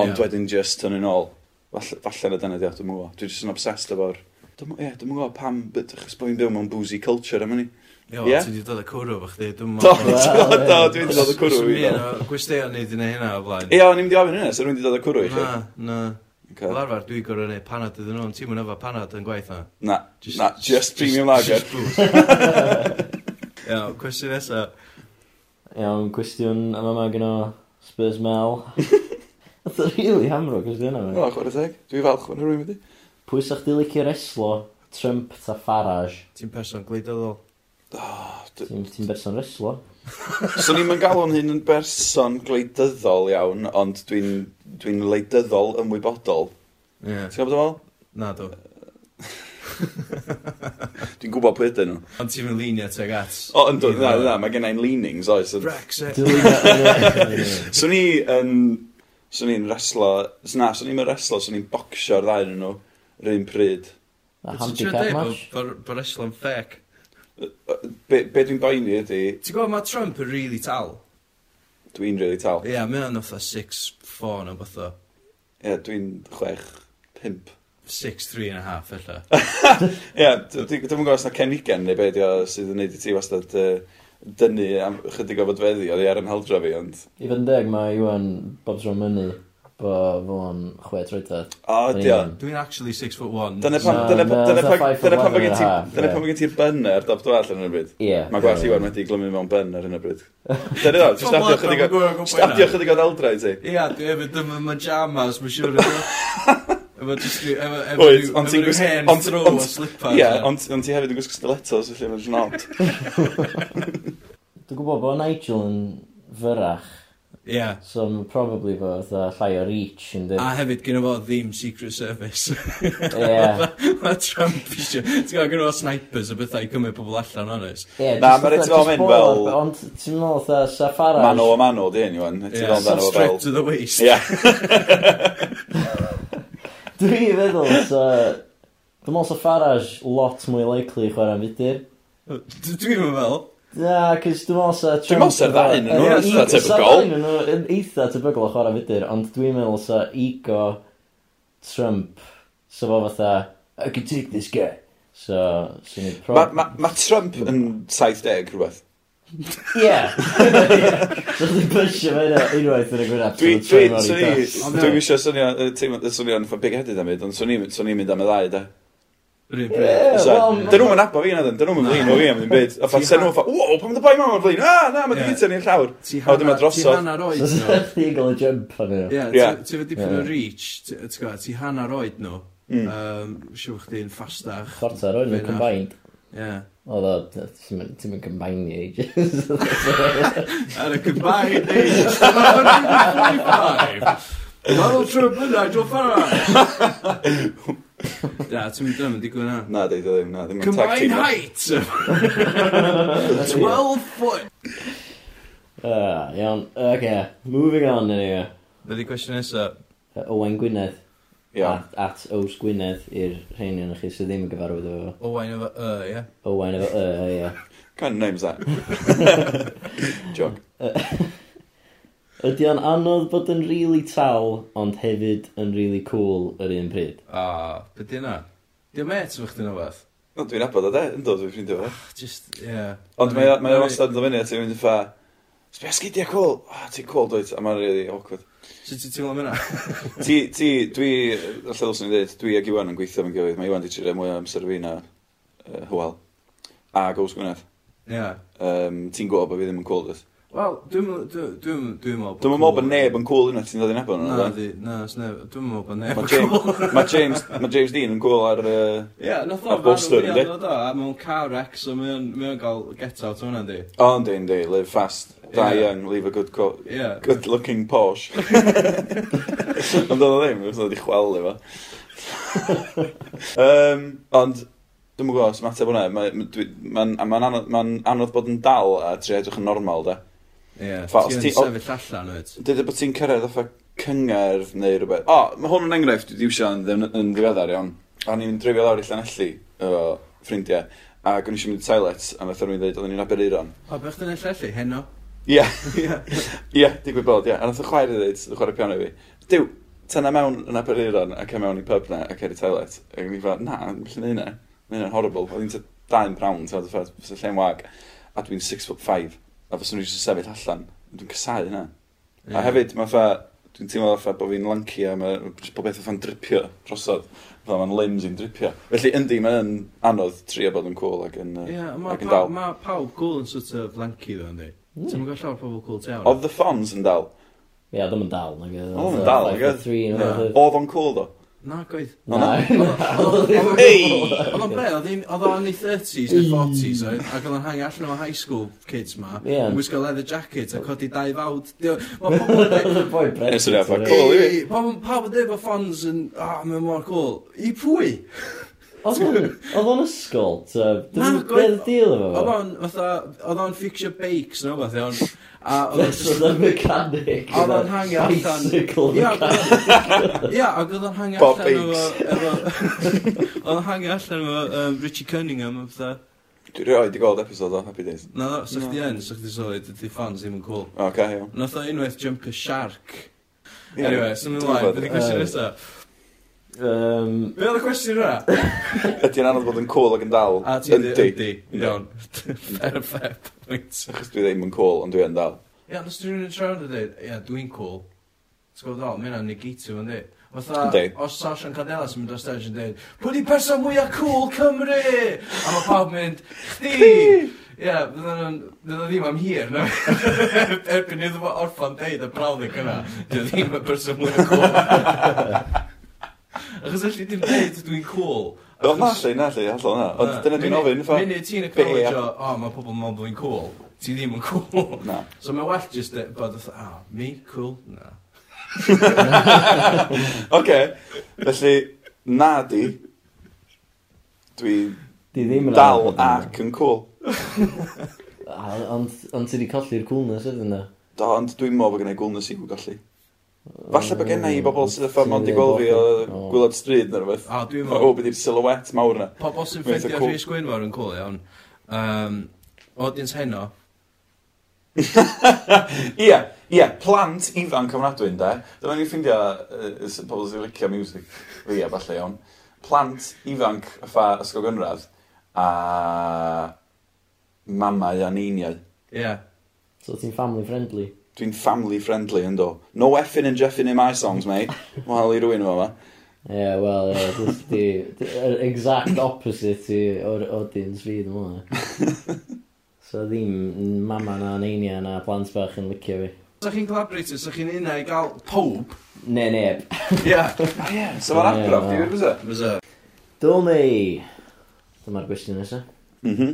[SPEAKER 4] Ond
[SPEAKER 3] Ie.
[SPEAKER 4] yeah. wedyn just yn yn ôl. Falle, falle na dyna diolch, dwi'n gwybod. Dwi'n just yn obsessed efo'r... Dwi'n yeah, dwi gwybod pam, but achos bod fi'n byw mewn boozy culture am hynny.
[SPEAKER 3] Ie,
[SPEAKER 4] Ie?
[SPEAKER 3] wel, ti di dod y cwrw fo chdi, dwi'n
[SPEAKER 4] Do,
[SPEAKER 3] meddwl.
[SPEAKER 4] do, do, dwi'n mynd i ddod y cwrw i
[SPEAKER 3] Dwi'n
[SPEAKER 4] ddod.
[SPEAKER 3] meddwl, gwestiwn ni di neud hynna o blaen.
[SPEAKER 4] Ie, o'n i'n mynd i ofyn hynna, so rwy'n mynd i ddod y cwrw i chi.
[SPEAKER 3] Na, na.
[SPEAKER 4] Ocê.
[SPEAKER 3] Fel arfer, dwi'n gorau neud panad iddyn nhw, ti'n mynd efo panad yn gwaith na.
[SPEAKER 4] Na, na, just premium lager.
[SPEAKER 3] just booze.
[SPEAKER 4] *laughs*
[SPEAKER 3] Ie, cwestiwn nesa.
[SPEAKER 1] Iawn, cwestiwn am yma gyno Spurs Mel. Oedd o'n rili hamro cwestiwn yma.
[SPEAKER 4] O, chwarae teg. Dwi'n falch fan rwy'n mynd i.
[SPEAKER 1] Pwy sa'ch di licio reslo, Trump ta Farage?
[SPEAKER 3] Ti'n person gwleidyddol.
[SPEAKER 1] Ti'n ti'n berson reslo?
[SPEAKER 4] So ni'n mynd galw'n hyn yn berson gwleidyddol iawn, ond dwi'n dwi leidyddol ymwybodol.
[SPEAKER 3] Ie,
[SPEAKER 4] Ti'n gwybod ymwybodol?
[SPEAKER 3] na dw.
[SPEAKER 4] Dwi'n gwybod pwy ydyn nhw.
[SPEAKER 3] Ond ti'n mynd linio teg at.
[SPEAKER 4] O, yn dod, na, na, mae gennau'n leanings, oes. ond-
[SPEAKER 3] Brexit.
[SPEAKER 1] Dwi'n
[SPEAKER 4] So ni yn... So ni'n reslo... s- Na, so ni'n mynd reslo, so ni'n bocsio'r ddau yn nhw. Yr un pryd.
[SPEAKER 1] A handicap match?
[SPEAKER 3] Bod wrestling fake.
[SPEAKER 4] Be, be dwi'n boeni ydi,
[SPEAKER 3] Ti'n gwybod mae Trump yn really tal?
[SPEAKER 4] dwi'n really tal. Ie,
[SPEAKER 3] Ie, yeah, mae o'n fatha 6'4 neu beth o.
[SPEAKER 4] yeah, dwi'n chwech, pimp.
[SPEAKER 3] 6'3 and a half, illa.
[SPEAKER 4] Ie, yeah, dwi'n gwybod os na Ken Egan neu beth sydd yn neud i ti wastad yy, dynnu am chydig o fodfeddi oedd i ar yn heldra fi, ond...
[SPEAKER 1] I fod yn deg mae Iwan bob tro myny bo fo'n chwe troedad.
[SPEAKER 4] O,
[SPEAKER 1] Yn
[SPEAKER 4] dio.
[SPEAKER 1] union.
[SPEAKER 3] Dwi'n actually 6'1.
[SPEAKER 4] Dyna pan,
[SPEAKER 1] Na,
[SPEAKER 4] dyna,
[SPEAKER 1] na,
[SPEAKER 4] dyna
[SPEAKER 1] fatha
[SPEAKER 4] pan,
[SPEAKER 1] five
[SPEAKER 4] dyna
[SPEAKER 1] foot
[SPEAKER 4] pan
[SPEAKER 1] one
[SPEAKER 4] bod gen
[SPEAKER 1] and a
[SPEAKER 4] ti,
[SPEAKER 1] half,
[SPEAKER 4] dyna
[SPEAKER 1] ie.
[SPEAKER 4] pan bod gen ti'r bun ar dop dwall yn y bryd.
[SPEAKER 1] Ie.
[SPEAKER 4] Mae gwell i wan wedi glymu mewn bun ar yn y
[SPEAKER 1] *laughs*
[SPEAKER 4] bryd. Dyna ddo, jyst adio chydig o... Jyst adio
[SPEAKER 3] Stapio.
[SPEAKER 4] chydig o daldra i ti.
[SPEAKER 3] Ie, dwi efo dyma majamas, mae'n siŵr ydw.
[SPEAKER 4] *laughs*
[SPEAKER 3] Efo just ryw- efo efo
[SPEAKER 4] Oed,
[SPEAKER 3] ryw-
[SPEAKER 4] ond
[SPEAKER 3] efo
[SPEAKER 4] ti'n
[SPEAKER 3] ryw
[SPEAKER 4] gwis-
[SPEAKER 3] hen
[SPEAKER 4] ond-
[SPEAKER 3] throw
[SPEAKER 4] ond-
[SPEAKER 3] o slipper.
[SPEAKER 4] Ie, ond ond ti hefyd yn gwisgo stilettos, felly mae'n nod.
[SPEAKER 1] Dwi'n gwybod bod Nigel yn fyrach,
[SPEAKER 3] Ie.
[SPEAKER 1] so mae'n probably bo fatha llai o reach yn
[SPEAKER 4] Ah.
[SPEAKER 1] dweud.
[SPEAKER 3] A hefyd gyda fo ddim Secret Service. *laughs*
[SPEAKER 1] Ie.
[SPEAKER 3] Mae Trump eisiau... Ti'n gwybod, gyda fo snipers a bethau i cymryd pobl allan honest.
[SPEAKER 1] Ie,
[SPEAKER 4] Na,
[SPEAKER 1] jyst
[SPEAKER 4] ma'r
[SPEAKER 1] fatha-
[SPEAKER 4] eto
[SPEAKER 1] jyst
[SPEAKER 4] mynd
[SPEAKER 1] ball,
[SPEAKER 4] fel-
[SPEAKER 1] Ond ti'n meddwl fatha sa Farage...
[SPEAKER 4] Mano o mano, di hyn, Iwan. Ti'n
[SPEAKER 3] Ie,
[SPEAKER 4] ddod amdano fo
[SPEAKER 3] stripped
[SPEAKER 4] fel...
[SPEAKER 3] to the waist.
[SPEAKER 4] Ie.
[SPEAKER 1] Dwi'n feddwl sa... Dwi'n meddwl sa Farage lot mwy likely i chwarae'n fudur.
[SPEAKER 3] D- Dwi'm yn fel.
[SPEAKER 1] Na, cys dwi'n meddwl sa...
[SPEAKER 4] Dwi'n meddwl sa'r ddau yn nhw
[SPEAKER 1] Yy, i-
[SPEAKER 4] eitha
[SPEAKER 1] Sa'r
[SPEAKER 4] tebygol.
[SPEAKER 1] ddau yn nhw yn eitha tebygol o chwarae fudur, ond dwi'n meddwl sa ego Trump sa fo fatha, I can take this guy. So, sy'n ei pro...
[SPEAKER 4] Mae ma, ma Trump yn 70 rhywbeth.
[SPEAKER 1] Ie! *laughs* So dwi'n bwysio fe yna unwaith yn y gwirionedd.
[SPEAKER 4] Dwi,
[SPEAKER 1] so
[SPEAKER 4] dwi,
[SPEAKER 1] troi mewn i tas.
[SPEAKER 4] swn i, dwi wisio swnio, y teimlo- y swnio'n ffa big headed am hyd, ond swn i'n mynd am y ddau, da.
[SPEAKER 3] Rhywun
[SPEAKER 1] Ie,
[SPEAKER 3] bryd.
[SPEAKER 4] So,
[SPEAKER 1] wel,
[SPEAKER 4] dyn nhw'n nabo fi na dyn, dyn nhw'n flin o fi am ddim byd. A ffa,
[SPEAKER 3] Ti
[SPEAKER 4] sen
[SPEAKER 3] ha-
[SPEAKER 4] nhw'n ffa, wow, pam dy boi mam o'r flin? Ah, na, mae
[SPEAKER 3] Ie.
[SPEAKER 4] dy gyda ni'n llawr.
[SPEAKER 3] Ti
[SPEAKER 4] A wedyn ma'
[SPEAKER 3] hanner- ti
[SPEAKER 4] drosodd.
[SPEAKER 3] hanner oed
[SPEAKER 1] So *laughs*
[SPEAKER 3] nhw.
[SPEAKER 1] sa'n eagle y jump fan yna.
[SPEAKER 3] Ie,
[SPEAKER 4] Ie.
[SPEAKER 3] ti- ti efo dipyn o
[SPEAKER 1] Ie.
[SPEAKER 3] reach, ti ti'n gwbod, ti hanner oed nhw. Yym, Siw chdi'n ffastach.
[SPEAKER 1] Chwarter oedd nhw'n
[SPEAKER 3] Fe na.
[SPEAKER 1] combined.
[SPEAKER 3] Ie.
[SPEAKER 1] Oedd o, ti'n mynd- ti'n mynd combined i ages. *laughs*
[SPEAKER 3] Ar y combined age of 145. Donald Trump yn Nigel Farage. Na, ti'n mynd dyna'n digwydd na.
[SPEAKER 4] Na, dweud o ddim, na, ddim yn tag
[SPEAKER 3] Combined
[SPEAKER 4] team.
[SPEAKER 3] height of *laughs* 12 foot.
[SPEAKER 1] Ah, Iawn, oce, moving on yn ie.
[SPEAKER 3] Dydy cwestiwn nesaf.
[SPEAKER 1] Owain Gwynedd.
[SPEAKER 4] Iawn.
[SPEAKER 1] At, at Ows Gwynedd i'r rheini yn chi sydd ddim yn gyfarwydd efo
[SPEAKER 3] Owain efo y, ie?
[SPEAKER 1] fo. Owain efo y, uh, ie.
[SPEAKER 4] Kind of name's
[SPEAKER 3] *laughs*
[SPEAKER 4] that. Jog.
[SPEAKER 1] Ydy o'n anodd bod yn rili really tal, ond hefyd yn rili really cool yr un pryd.
[SPEAKER 3] A, be di yna? Di o met efo chdi'n o fath?
[SPEAKER 4] No, dwi'n abod o de, yn dod, dwi'n ffrindio fe.
[SPEAKER 3] Just, ie.
[SPEAKER 4] Ond mae o- mae o wastad yn dod fyny at i'n mynd i ffa, Sbio sgidiau cool. Oh, ti'n cool, dweud. A mae'n really awkward.
[SPEAKER 3] Sut ti'n teimlo am
[SPEAKER 4] *laughs*
[SPEAKER 3] hynna?
[SPEAKER 4] Ti, ti, dwi, allai ddylsyn ni dweud, dwi ag Iwan yn gweithio mewn gilydd. Mae Iwan di treulio mwy o amser fi na uh, Hwel. A Gws Gwynedd.
[SPEAKER 3] Ie.
[SPEAKER 4] Um, ti'n gwybod bod fi ddim yn cool, dweud.
[SPEAKER 3] Wel, dwi'n meddwl... Dwi'n dwi'n meddwl...
[SPEAKER 4] Dwi'n meddwl bod neb yn cool unna, ti'n dod i nebo nhw.
[SPEAKER 3] Na, di, na, sneb, dwi'n meddwl bod neb
[SPEAKER 4] Mae
[SPEAKER 3] yn
[SPEAKER 4] James,
[SPEAKER 3] cool.
[SPEAKER 4] ma James, ma James Dean yn cool ar... Uh,
[SPEAKER 3] *laughs* Ie, nath
[SPEAKER 4] A
[SPEAKER 3] o'n
[SPEAKER 4] bolster, yndi?
[SPEAKER 3] Ie, a mewn car wreck, so mae o'n- mae o'n cael get out o'n hynna, di.
[SPEAKER 4] oh, yndi, yndi, live fast, die
[SPEAKER 3] Ie.
[SPEAKER 4] young, leave a good, co
[SPEAKER 3] Ie.
[SPEAKER 4] good looking Porsche. Ond oedd o ddim, oedd wedi chwel efo. um, ond, dwi'n gwybod, os mateb hwnna, mae'n ma, ma anodd, ma anodd bod yn dal a tri edrych yn normal, da.
[SPEAKER 3] Ie,
[SPEAKER 4] Fa- os
[SPEAKER 3] ti'n
[SPEAKER 4] ti- o-
[SPEAKER 3] sefyll allan, wyt.
[SPEAKER 4] Dydw bod ti'n cyrraedd efo cyngerdd neu rhywbeth. O, oh, mae hwn yn enghraifft dwi wisiau yn, yn, yn ddiweddar iawn. A ni'n drifio lawr i Llanelli efo ffrindiau. A gwni eisiau mynd i toilet, a mae Thermi'n dweud, oedden ni'n aber eiron.
[SPEAKER 3] O, bych chi'n eich allu, heno? *laughs*
[SPEAKER 4] Ie, ie, digwydd bod, ie. A nath y chwaer i ddweud, y chwaer y piano i fi. Dyw, tyna mewn yn aber eiron ac e mewn i pub na ac er i toilet. Ac ni'n fel, na, lle neu hynna. Mae hynna'n horrible. Oedd hi'n dain brawn, ti'n meddwl, fysa lle'n wag. A dwi'n 6 foot 5. A fyswn i eisiau sefyll allan. Dwi'n casau hynna. A hefyd, mae ffa, dwi'n teimlo ffa bod fi'n lanky a mae jyst pob beth fatha'n dripio drosodd. Fydda mae'n limbs i'n dripio. Felly, yndi, mae'n anodd trio bod yn cool ac yn,
[SPEAKER 3] Ie,
[SPEAKER 4] yeah,
[SPEAKER 3] mae
[SPEAKER 4] ac yn dal. Hmm.
[SPEAKER 3] ma pawb cool yn sort of lanky ddo, ynddi. Ti'n mynd gael llawer o pobl cool tewn.
[SPEAKER 4] Oedd the Fonz yn dal.
[SPEAKER 5] Ie, ddim yn dal, nag oedd.
[SPEAKER 4] Oedd yn dal, nag oedd?
[SPEAKER 5] oedd?
[SPEAKER 4] Oedd o'n cool, ddo.
[SPEAKER 3] Na, gwaith.
[SPEAKER 5] Na,
[SPEAKER 3] Oedd
[SPEAKER 5] na.
[SPEAKER 3] o'n
[SPEAKER 4] Ei!
[SPEAKER 3] Oedd o'n bre, oedd hi'n- oedd o'n i 30s neu 40s oedd, ac oedd o'n hangi allan o high school kids ma,
[SPEAKER 5] Ie.
[SPEAKER 3] yn wisgo leather jacket a codi dau fawd. Dio- ma' pobl yn dweud-
[SPEAKER 5] Boi Brexit,
[SPEAKER 4] Nes yna,
[SPEAKER 5] oedd?
[SPEAKER 4] ffa, cool i fi.
[SPEAKER 3] Ei, Pawb pawb yn dweud bod ffons yn, ah, mae'n mor cool. I pwy?
[SPEAKER 5] Oedd o'n- Oedd o'n ysgol, ta?
[SPEAKER 3] Na,
[SPEAKER 5] Beth
[SPEAKER 3] gwaith-
[SPEAKER 5] oedd deal efo
[SPEAKER 3] Oedd
[SPEAKER 5] fo?
[SPEAKER 3] o'n, fatha, oedd o'n fixio bakes, no, fath iawn. A oedd o'n
[SPEAKER 5] Beth
[SPEAKER 3] just
[SPEAKER 5] oedd o'n mechanic.
[SPEAKER 3] Oedd o'n hangi allan.
[SPEAKER 5] Bicycle
[SPEAKER 3] Ia,
[SPEAKER 5] mechanic.
[SPEAKER 3] ia, ac oedd o'n hangi
[SPEAKER 4] Bob
[SPEAKER 3] allan efo... efo- *laughs* Oedd o'n hangi allan efo um, Richie Cunningham, fatha.
[SPEAKER 4] Dwi rioed i gweld episod o Happy Days.
[SPEAKER 3] Na, no, sa'ch di yn, sa'ch di sylwi, dydy ffans ddim yn cool.
[SPEAKER 4] O, ca, iawn.
[SPEAKER 3] Nath o unwaith jump a shark.
[SPEAKER 4] Ie.
[SPEAKER 3] Anyway, sy'n mynd
[SPEAKER 4] Dwi'n
[SPEAKER 3] lai,
[SPEAKER 4] gwbod.
[SPEAKER 3] beth i cwestiwn
[SPEAKER 1] Yy.
[SPEAKER 3] nesaf.
[SPEAKER 1] Um,
[SPEAKER 3] Be oedd y cwestiwn yna?
[SPEAKER 4] Ydy'n anodd bod yn cool ac yn dal.
[SPEAKER 3] A ti di,
[SPEAKER 4] Yndi.
[SPEAKER 3] yndi, iawn. *laughs* Fair, fair point.
[SPEAKER 4] Achos dwi ddim yn cool, ond dwi yn dal.
[SPEAKER 3] Ia, nes dwi'n rhywun yn trafod a dweud, ia, dwi'n cool. T'w gwybod ddol, mae'n negatio fo'n dweud. Fatha,
[SPEAKER 4] Yndi.
[SPEAKER 3] os Sasha yn Cadela sy'n mynd o stage yn dweud, pwy di person mwyaf cool Cymru? A mae pawb mynd, chdi! Ia, fydden nhw'n, fydden nhw ddim am hir, na? *laughs* Erbyn iddo fo orffan dweud y brawddeg yna, dwi ddim y person mwyaf
[SPEAKER 4] *laughs*
[SPEAKER 3] cool. Achos allu ddim dweud dwi'n cool.
[SPEAKER 4] Wel, na, lle, na, lle, allan na. Ond
[SPEAKER 3] Na,
[SPEAKER 4] dyna dwi'n
[SPEAKER 3] munud-
[SPEAKER 4] ofyn, ffa.
[SPEAKER 3] Munud ti'n
[SPEAKER 4] Be?
[SPEAKER 3] acknowledge o, "Oh, o, mae pobl yn meddwl bod fi'n cool. Ti ddim yn cool.
[SPEAKER 4] Na.
[SPEAKER 3] So mae well just de- bod fatha, ah, me, cool, na.
[SPEAKER 4] Oce, felly, na di. Dwi
[SPEAKER 5] Di ddim yn
[SPEAKER 4] dal
[SPEAKER 5] anodd.
[SPEAKER 4] ac yn cool.
[SPEAKER 5] A- Ond ond ti di colli'r coolness ydyn nhw.
[SPEAKER 4] Do, ond dwi'n meddwl bod gennau gwlnus i'w gallu. Falle bod gennau i bobl sydd y ffordd mond i gweld fi o gwylod stryd neu rhywbeth.
[SPEAKER 3] A dwi'n
[SPEAKER 4] O,
[SPEAKER 3] meddwl,
[SPEAKER 4] beth i'r silhouette mawr na.
[SPEAKER 3] pobl sy'n
[SPEAKER 4] Beth y
[SPEAKER 3] ffeindio
[SPEAKER 4] cool-
[SPEAKER 3] Rhys Gwynfor yn cool iawn. Um, audience heno.
[SPEAKER 4] Ie, ie, plant ifanc ofnadwy ynda. Dyma ni'n ffeindio yy, s- pobl sy'n licio music. Fi a falle iawn. Plant ifanc y ffa ysgol gynradd a mamau a neiniau.
[SPEAKER 3] Ie. Yeah.
[SPEAKER 5] So ti'n family friendly.
[SPEAKER 4] Dwi'n family friendly yn do. No effing and jeffing in my songs, mate. Wael i rywun yma.
[SPEAKER 5] Ie, yeah, wel, ie, jyst di... di- yr exact opposite i o'r audience fi, dwi'n mwyn. *laughs* So ddim mama na neinia na plant bach yn licio fi.
[SPEAKER 3] Sa chi'n collaborator, sa chi'n unna i gael pob?
[SPEAKER 5] Ne, *laughs* neb.
[SPEAKER 3] Ie.
[SPEAKER 4] Ie, so mae'r
[SPEAKER 5] Ie,
[SPEAKER 4] adrodd,
[SPEAKER 5] wel.
[SPEAKER 4] dwi'n fysa.
[SPEAKER 3] Fysa.
[SPEAKER 5] Dyl ni! Dyma'r gwestiwn nesaf.
[SPEAKER 4] Mhm.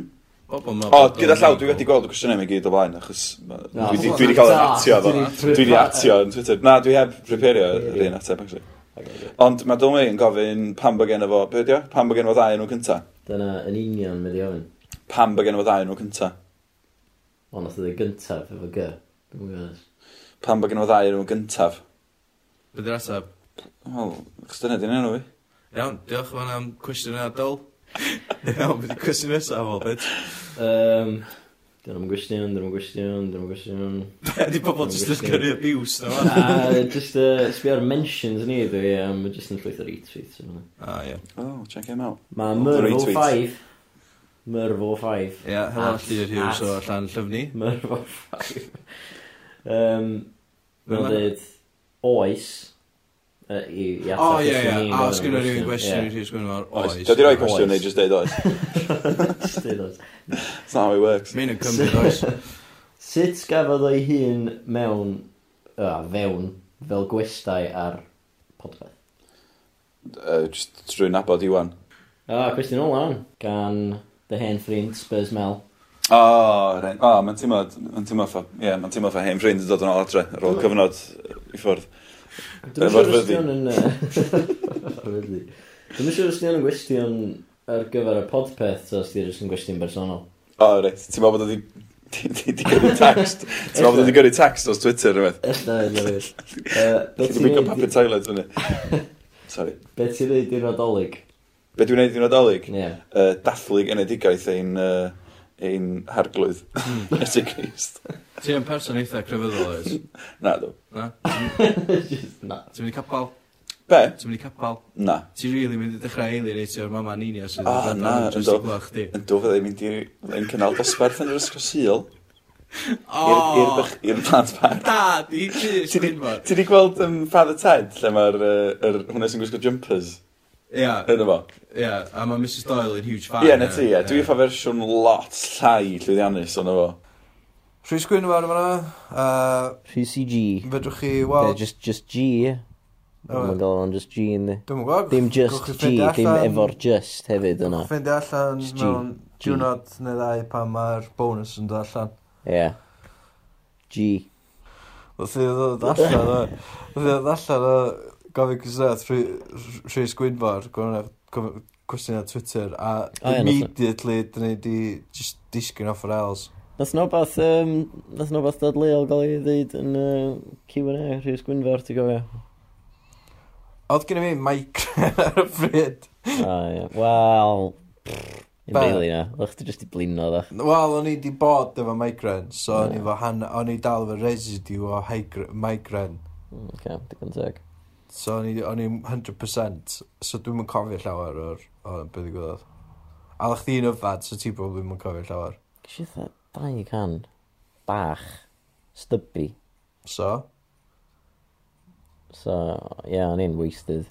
[SPEAKER 3] Bobl yn meddwl
[SPEAKER 4] O,
[SPEAKER 3] bod
[SPEAKER 4] gyda
[SPEAKER 3] o'n
[SPEAKER 4] llaw, dwi wedi
[SPEAKER 3] cool.
[SPEAKER 4] gweld y cwestiynau mewn gyd o blaen, achos ma-
[SPEAKER 5] Na,
[SPEAKER 4] dwi 'di-
[SPEAKER 3] pobl
[SPEAKER 4] dwi wedi cael
[SPEAKER 3] yn
[SPEAKER 4] ei atio
[SPEAKER 3] atio,
[SPEAKER 4] fo. Dwi wedi atio yn Twitter. Na, dwi heb prepario yr un ateb, actually. Ond mae Dylmi yn gofyn pam bod gen efo, be ydi o? Pam bod gen efo ddau enw cynta?
[SPEAKER 5] Dyna yn union mynd i ofyn.
[SPEAKER 4] Pam bod gen efo ddau enw cynta?
[SPEAKER 5] O, nath oedd y gyntaf efo gy. Dwi'n gwybod.
[SPEAKER 4] Pam bod gen efo ddau enw gyntaf?
[SPEAKER 3] Bydd yr asab.
[SPEAKER 4] Wel, achos dyna di'n enw fi.
[SPEAKER 3] Iawn, diolch fan am cwestiwn yna dol. Iawn, bydd y cwestiwn nesaf o, beth?
[SPEAKER 5] Um, dyna'n gwestiwn, dyna'n gwestiwn, dyna'n *laughs* gwestiwn.
[SPEAKER 3] Di pobl jyst yn gyrru abuse na fan.
[SPEAKER 5] A just uh, sbio'r mentions ni dwi, um, just yn llwyth o retweets.
[SPEAKER 3] A, Ah, ie.
[SPEAKER 4] Oh, check him out.
[SPEAKER 5] Mae
[SPEAKER 4] Lot o
[SPEAKER 5] Merl
[SPEAKER 4] retweets.
[SPEAKER 5] 5 Myrfo 5.
[SPEAKER 3] Ie, helo
[SPEAKER 5] At-
[SPEAKER 3] Llyr Hughes o
[SPEAKER 5] at-
[SPEAKER 3] allan llyfni.
[SPEAKER 5] Myrfo 5. um, Mae'n
[SPEAKER 3] Dyna.
[SPEAKER 5] dweud oes. yy, I, i
[SPEAKER 3] O,
[SPEAKER 5] atab
[SPEAKER 3] ie,
[SPEAKER 5] cwestiwn i,
[SPEAKER 3] ie. A
[SPEAKER 5] mae'n
[SPEAKER 3] os gynnu rhywun gwestiwn i
[SPEAKER 5] Ie,
[SPEAKER 3] Rhys Gwynfor,
[SPEAKER 4] Oes.
[SPEAKER 3] oes.
[SPEAKER 4] Da di roi
[SPEAKER 1] oes.
[SPEAKER 4] cwestiwn neu just deud oes.
[SPEAKER 5] jyst deud oes.
[SPEAKER 4] That's not how it works.
[SPEAKER 3] Mae'n yn cymryd oes.
[SPEAKER 5] Sut gafodd o'i hun mewn, uh, fewn, fel gwestai ar podbeth?
[SPEAKER 4] Uh, just trwy nabod Iwan.
[SPEAKER 5] A, Ah, cwestiwn ola hwn, gan The Hen Ffrind, Spurs Mel.
[SPEAKER 4] O, rein. O, mae'n teimlo, mae'n teimlo ffa, ie, mae'n teimlo ffa hen ffrind yn dod yn ôl adre ar ôl cyfnod i ffwrdd.
[SPEAKER 5] Dwi'n
[SPEAKER 4] Efo'r
[SPEAKER 5] siŵr os
[SPEAKER 4] fyddi.
[SPEAKER 5] dion yn... *laughs* Ryddi. Dwi'n siŵr os dion yn gwestiwn ar gyfer y podpeth, so os dion yn gwestiwn bersonol.
[SPEAKER 4] O, reit, ti'n meddwl bod o 'di- *laughs* di di- di
[SPEAKER 3] *laughs*
[SPEAKER 4] gyrru text? Ti'n meddwl bod o 'di gyrru text os Twitter rhywbeth?
[SPEAKER 5] Ella, ella
[SPEAKER 4] *laughs*
[SPEAKER 5] fyr.
[SPEAKER 4] Ti'n gwybod paper toilet fyny?
[SPEAKER 3] *laughs*
[SPEAKER 4] Sorry.
[SPEAKER 5] Be ti'n neud i'r nadolig? e.
[SPEAKER 4] Be dwi'n neud i nadolig?
[SPEAKER 5] *laughs* Ie.
[SPEAKER 4] Uh, dathlu genedigaeth ein, uh, ein
[SPEAKER 3] *laughs*
[SPEAKER 4] harglwydd. *laughs* Ysig Christ.
[SPEAKER 3] Ti yn person eitha crefyddol oes.
[SPEAKER 4] Na, dw.
[SPEAKER 3] Na?
[SPEAKER 5] Just Na.
[SPEAKER 3] Ti'n mynd i capal?
[SPEAKER 4] Be?
[SPEAKER 3] Ti'n mynd i capal?
[SPEAKER 4] Na.
[SPEAKER 3] Ti'n rili mynd i dechrau alienatio o'r mama ninia sydd
[SPEAKER 4] Ah,
[SPEAKER 3] yn
[SPEAKER 4] na,
[SPEAKER 3] dod
[SPEAKER 4] yn
[SPEAKER 3] jyst i
[SPEAKER 4] do.
[SPEAKER 3] gwach di.
[SPEAKER 4] Yn dw fyddai'n mynd i'r yn cynnal dosbarth yn yr ysgrysil
[SPEAKER 3] O!
[SPEAKER 4] i'r plant park.
[SPEAKER 3] Da, di Rhys
[SPEAKER 4] Ti 'di-
[SPEAKER 3] Gwynfor.
[SPEAKER 4] Ti di gweld um, Father Ted, lle mae'r uh, er, hwnna sy'n gwisgo jumpers
[SPEAKER 3] Ia,
[SPEAKER 4] yn efo?
[SPEAKER 3] ia. A mae Mrs Doyle yn huge fan. e.
[SPEAKER 4] Ie, na ti, ie. Dwi'n ffa fersiwn lot llai llwyddiannus o'n efo.
[SPEAKER 2] Rhys Gwynfawr yma. Uh,
[SPEAKER 1] Rhysi G.
[SPEAKER 2] fedrwch chi
[SPEAKER 1] Well,
[SPEAKER 2] weld...
[SPEAKER 1] just, just G.
[SPEAKER 2] Oh,
[SPEAKER 1] Mae'n gael o'n just G yn di.
[SPEAKER 2] Dwi'n gwybod.
[SPEAKER 1] Dim just G, dim efo'r just hefyd yna.
[SPEAKER 2] Ffeindio allan
[SPEAKER 1] Just G.
[SPEAKER 2] mewn
[SPEAKER 1] G.
[SPEAKER 2] diwrnod neu ddau pan mae'r bonus yn dod allan.
[SPEAKER 1] Ie. G.
[SPEAKER 2] Wrth i ddod
[SPEAKER 1] *laughs*
[SPEAKER 2] allan o... Wrth i ddod allan o gofyn gwsnaeth Rhys Gwynfor, gofyn- gofyn- cwestiwn ar Twitter, a
[SPEAKER 1] O, ie, nath o.
[SPEAKER 2] immediately dyn ni di just disgyn off yr ails.
[SPEAKER 1] Nath nobeth, um, nath nobeth dadleol gael ei ddeud yn uh, Q&A, Rhys Gwynfer, ti'n gofio?
[SPEAKER 2] Oedd gen i mi migraine *laughs* ar y pryd.
[SPEAKER 1] O, ie. Wel, yn
[SPEAKER 2] Ba-
[SPEAKER 1] beili na. O'ch ti jyst i blino, dda.
[SPEAKER 2] Wel, o'n i di bod efo migraine, so o'n i, efo han- o'n i dal efo residue o hygr- migraine.
[SPEAKER 1] Okay, digon teg.
[SPEAKER 2] So o'n i, o'n i 100%, so dwi'm yn cofio llawer o'r o beth i gwybod. A ddech chi'n yfad, so ti probably ddim yn cofio llawer.
[SPEAKER 1] Gysi eitha, dau can, bach, stubby.
[SPEAKER 2] So,
[SPEAKER 1] So, ie, yeah, o'n i'n wasted.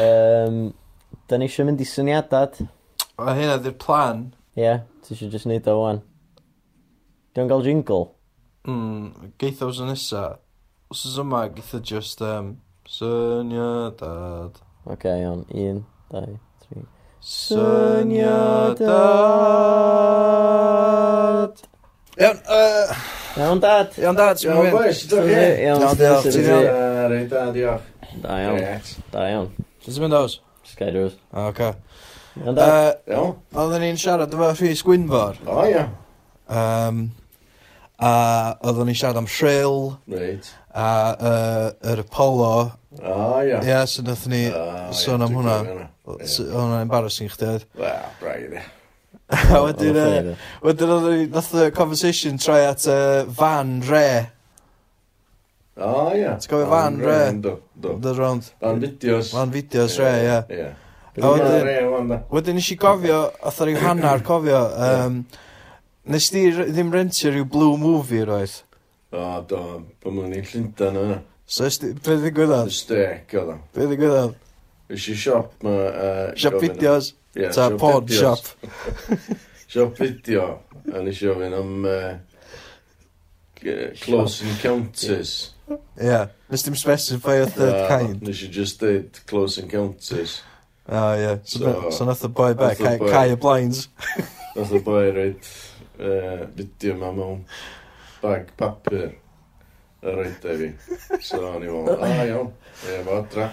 [SPEAKER 1] um, da ni eisiau mynd i syniadad. Ie,
[SPEAKER 2] o hynna di'r plan,
[SPEAKER 1] yeah, ti eisiau jyst neud o wan. Dwi'n gael jingle.
[SPEAKER 2] Mm, geitha os nesa. Os oes yma, geitha just, um, syniadad.
[SPEAKER 1] Oce, okay, iawn. Un, dau, tri.
[SPEAKER 2] Syniadad.
[SPEAKER 3] Iawn, uh,
[SPEAKER 1] Iawn, dad!
[SPEAKER 2] Iawn dad, ti'n mynd?
[SPEAKER 1] Iawn,
[SPEAKER 2] Iawn, diolch, ti'n iawn?
[SPEAKER 3] Rhaid da, diolch.
[SPEAKER 1] Da iawn, da iawn.
[SPEAKER 2] Ti'n mynd os?
[SPEAKER 1] Sky Drws.
[SPEAKER 2] O, oce.
[SPEAKER 1] Iawn da.
[SPEAKER 2] Yy,
[SPEAKER 3] Iawn.
[SPEAKER 2] Oedden ni'n siarad efo Rhys Gwynfor.
[SPEAKER 3] O, ia.
[SPEAKER 2] Um, a oedden ni'n siarad am Shrill
[SPEAKER 3] Reit.
[SPEAKER 2] a yy, yr Apollo.
[SPEAKER 3] O, ia.
[SPEAKER 2] Ie, so nath ni
[SPEAKER 3] O,
[SPEAKER 2] sôn
[SPEAKER 3] ie,
[SPEAKER 2] am
[SPEAKER 3] dwi'n
[SPEAKER 2] hwnna.
[SPEAKER 3] cofio hwnna.
[SPEAKER 2] S- Oedd hwnna'n embarrassing chdi
[SPEAKER 3] *laughs*
[SPEAKER 2] oedd.
[SPEAKER 3] Wel, braidd, ia.
[SPEAKER 2] A wedyn, yy,
[SPEAKER 3] e.
[SPEAKER 2] Wedyn oedd ni, nath y conversation troi at uh, Van Re.
[SPEAKER 3] O, ia.
[SPEAKER 2] Ti'n cofio fan, re?
[SPEAKER 3] Do, do.
[SPEAKER 2] The round.
[SPEAKER 3] Fan fideos.
[SPEAKER 2] Van Videos Re, ie.
[SPEAKER 3] Ia.
[SPEAKER 2] A
[SPEAKER 3] Fan
[SPEAKER 2] wedyn-
[SPEAKER 3] re, wan, da.
[SPEAKER 2] Wedyn nes i gofio, oedd ar ei hannar cofio, um, nes di r- ddim rentio rhyw blue movie roedd.
[SPEAKER 3] O, do. Pan mwyn i'n Llundan yna.
[SPEAKER 2] So, ys di- be ddigwyddodd?
[SPEAKER 3] Mistec, oedd o.
[SPEAKER 2] Be ddigwyddodd?
[SPEAKER 3] Ys i siop ma... yy,
[SPEAKER 2] Shop
[SPEAKER 3] gofyn am-
[SPEAKER 2] videos,
[SPEAKER 3] Ie,
[SPEAKER 2] ta
[SPEAKER 3] siop
[SPEAKER 2] pod
[SPEAKER 3] fideos.
[SPEAKER 2] shop.
[SPEAKER 3] Siop fideo. A nes i ofyn am... yy, g- Close Encounters.
[SPEAKER 2] Ie, nes dim specify o third
[SPEAKER 3] A
[SPEAKER 2] kind.
[SPEAKER 3] Nes i just dweud Close Encounters.
[SPEAKER 2] O, ie. So,
[SPEAKER 3] So-
[SPEAKER 2] so nath y boi back,
[SPEAKER 3] Nath y boi-
[SPEAKER 2] cau y blinds.
[SPEAKER 3] Nath o boi roed uh, fideo ma mewn bag papur a roed e fi. So o'n i fel, a iawn, e fo adra.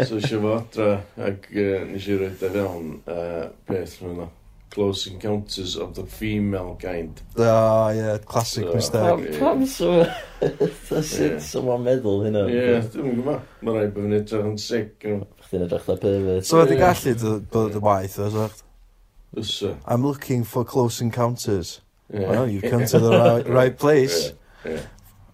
[SPEAKER 3] So eisiau fo adra ac uh, nes i roed e fewn uh, beth nhw'n o. Close Encounters of the Female Kind.
[SPEAKER 2] O, ie, classic
[SPEAKER 3] So-
[SPEAKER 2] mistake.
[SPEAKER 1] Pam, pam so... *laughs* Ta
[SPEAKER 3] Ie.
[SPEAKER 1] sut someone meddwl hynna?
[SPEAKER 3] Ie, yeah, dwi'n gwybod. Mae rai bod yn edrych yn sic.
[SPEAKER 1] Chdi'n edrych da pervert.
[SPEAKER 2] So, wedi gallu dy- bod y waith, oes o'ch?
[SPEAKER 3] Ysa.
[SPEAKER 2] I'm looking for close encounters.
[SPEAKER 3] Yeah.
[SPEAKER 2] Well, you've come to the right, right place.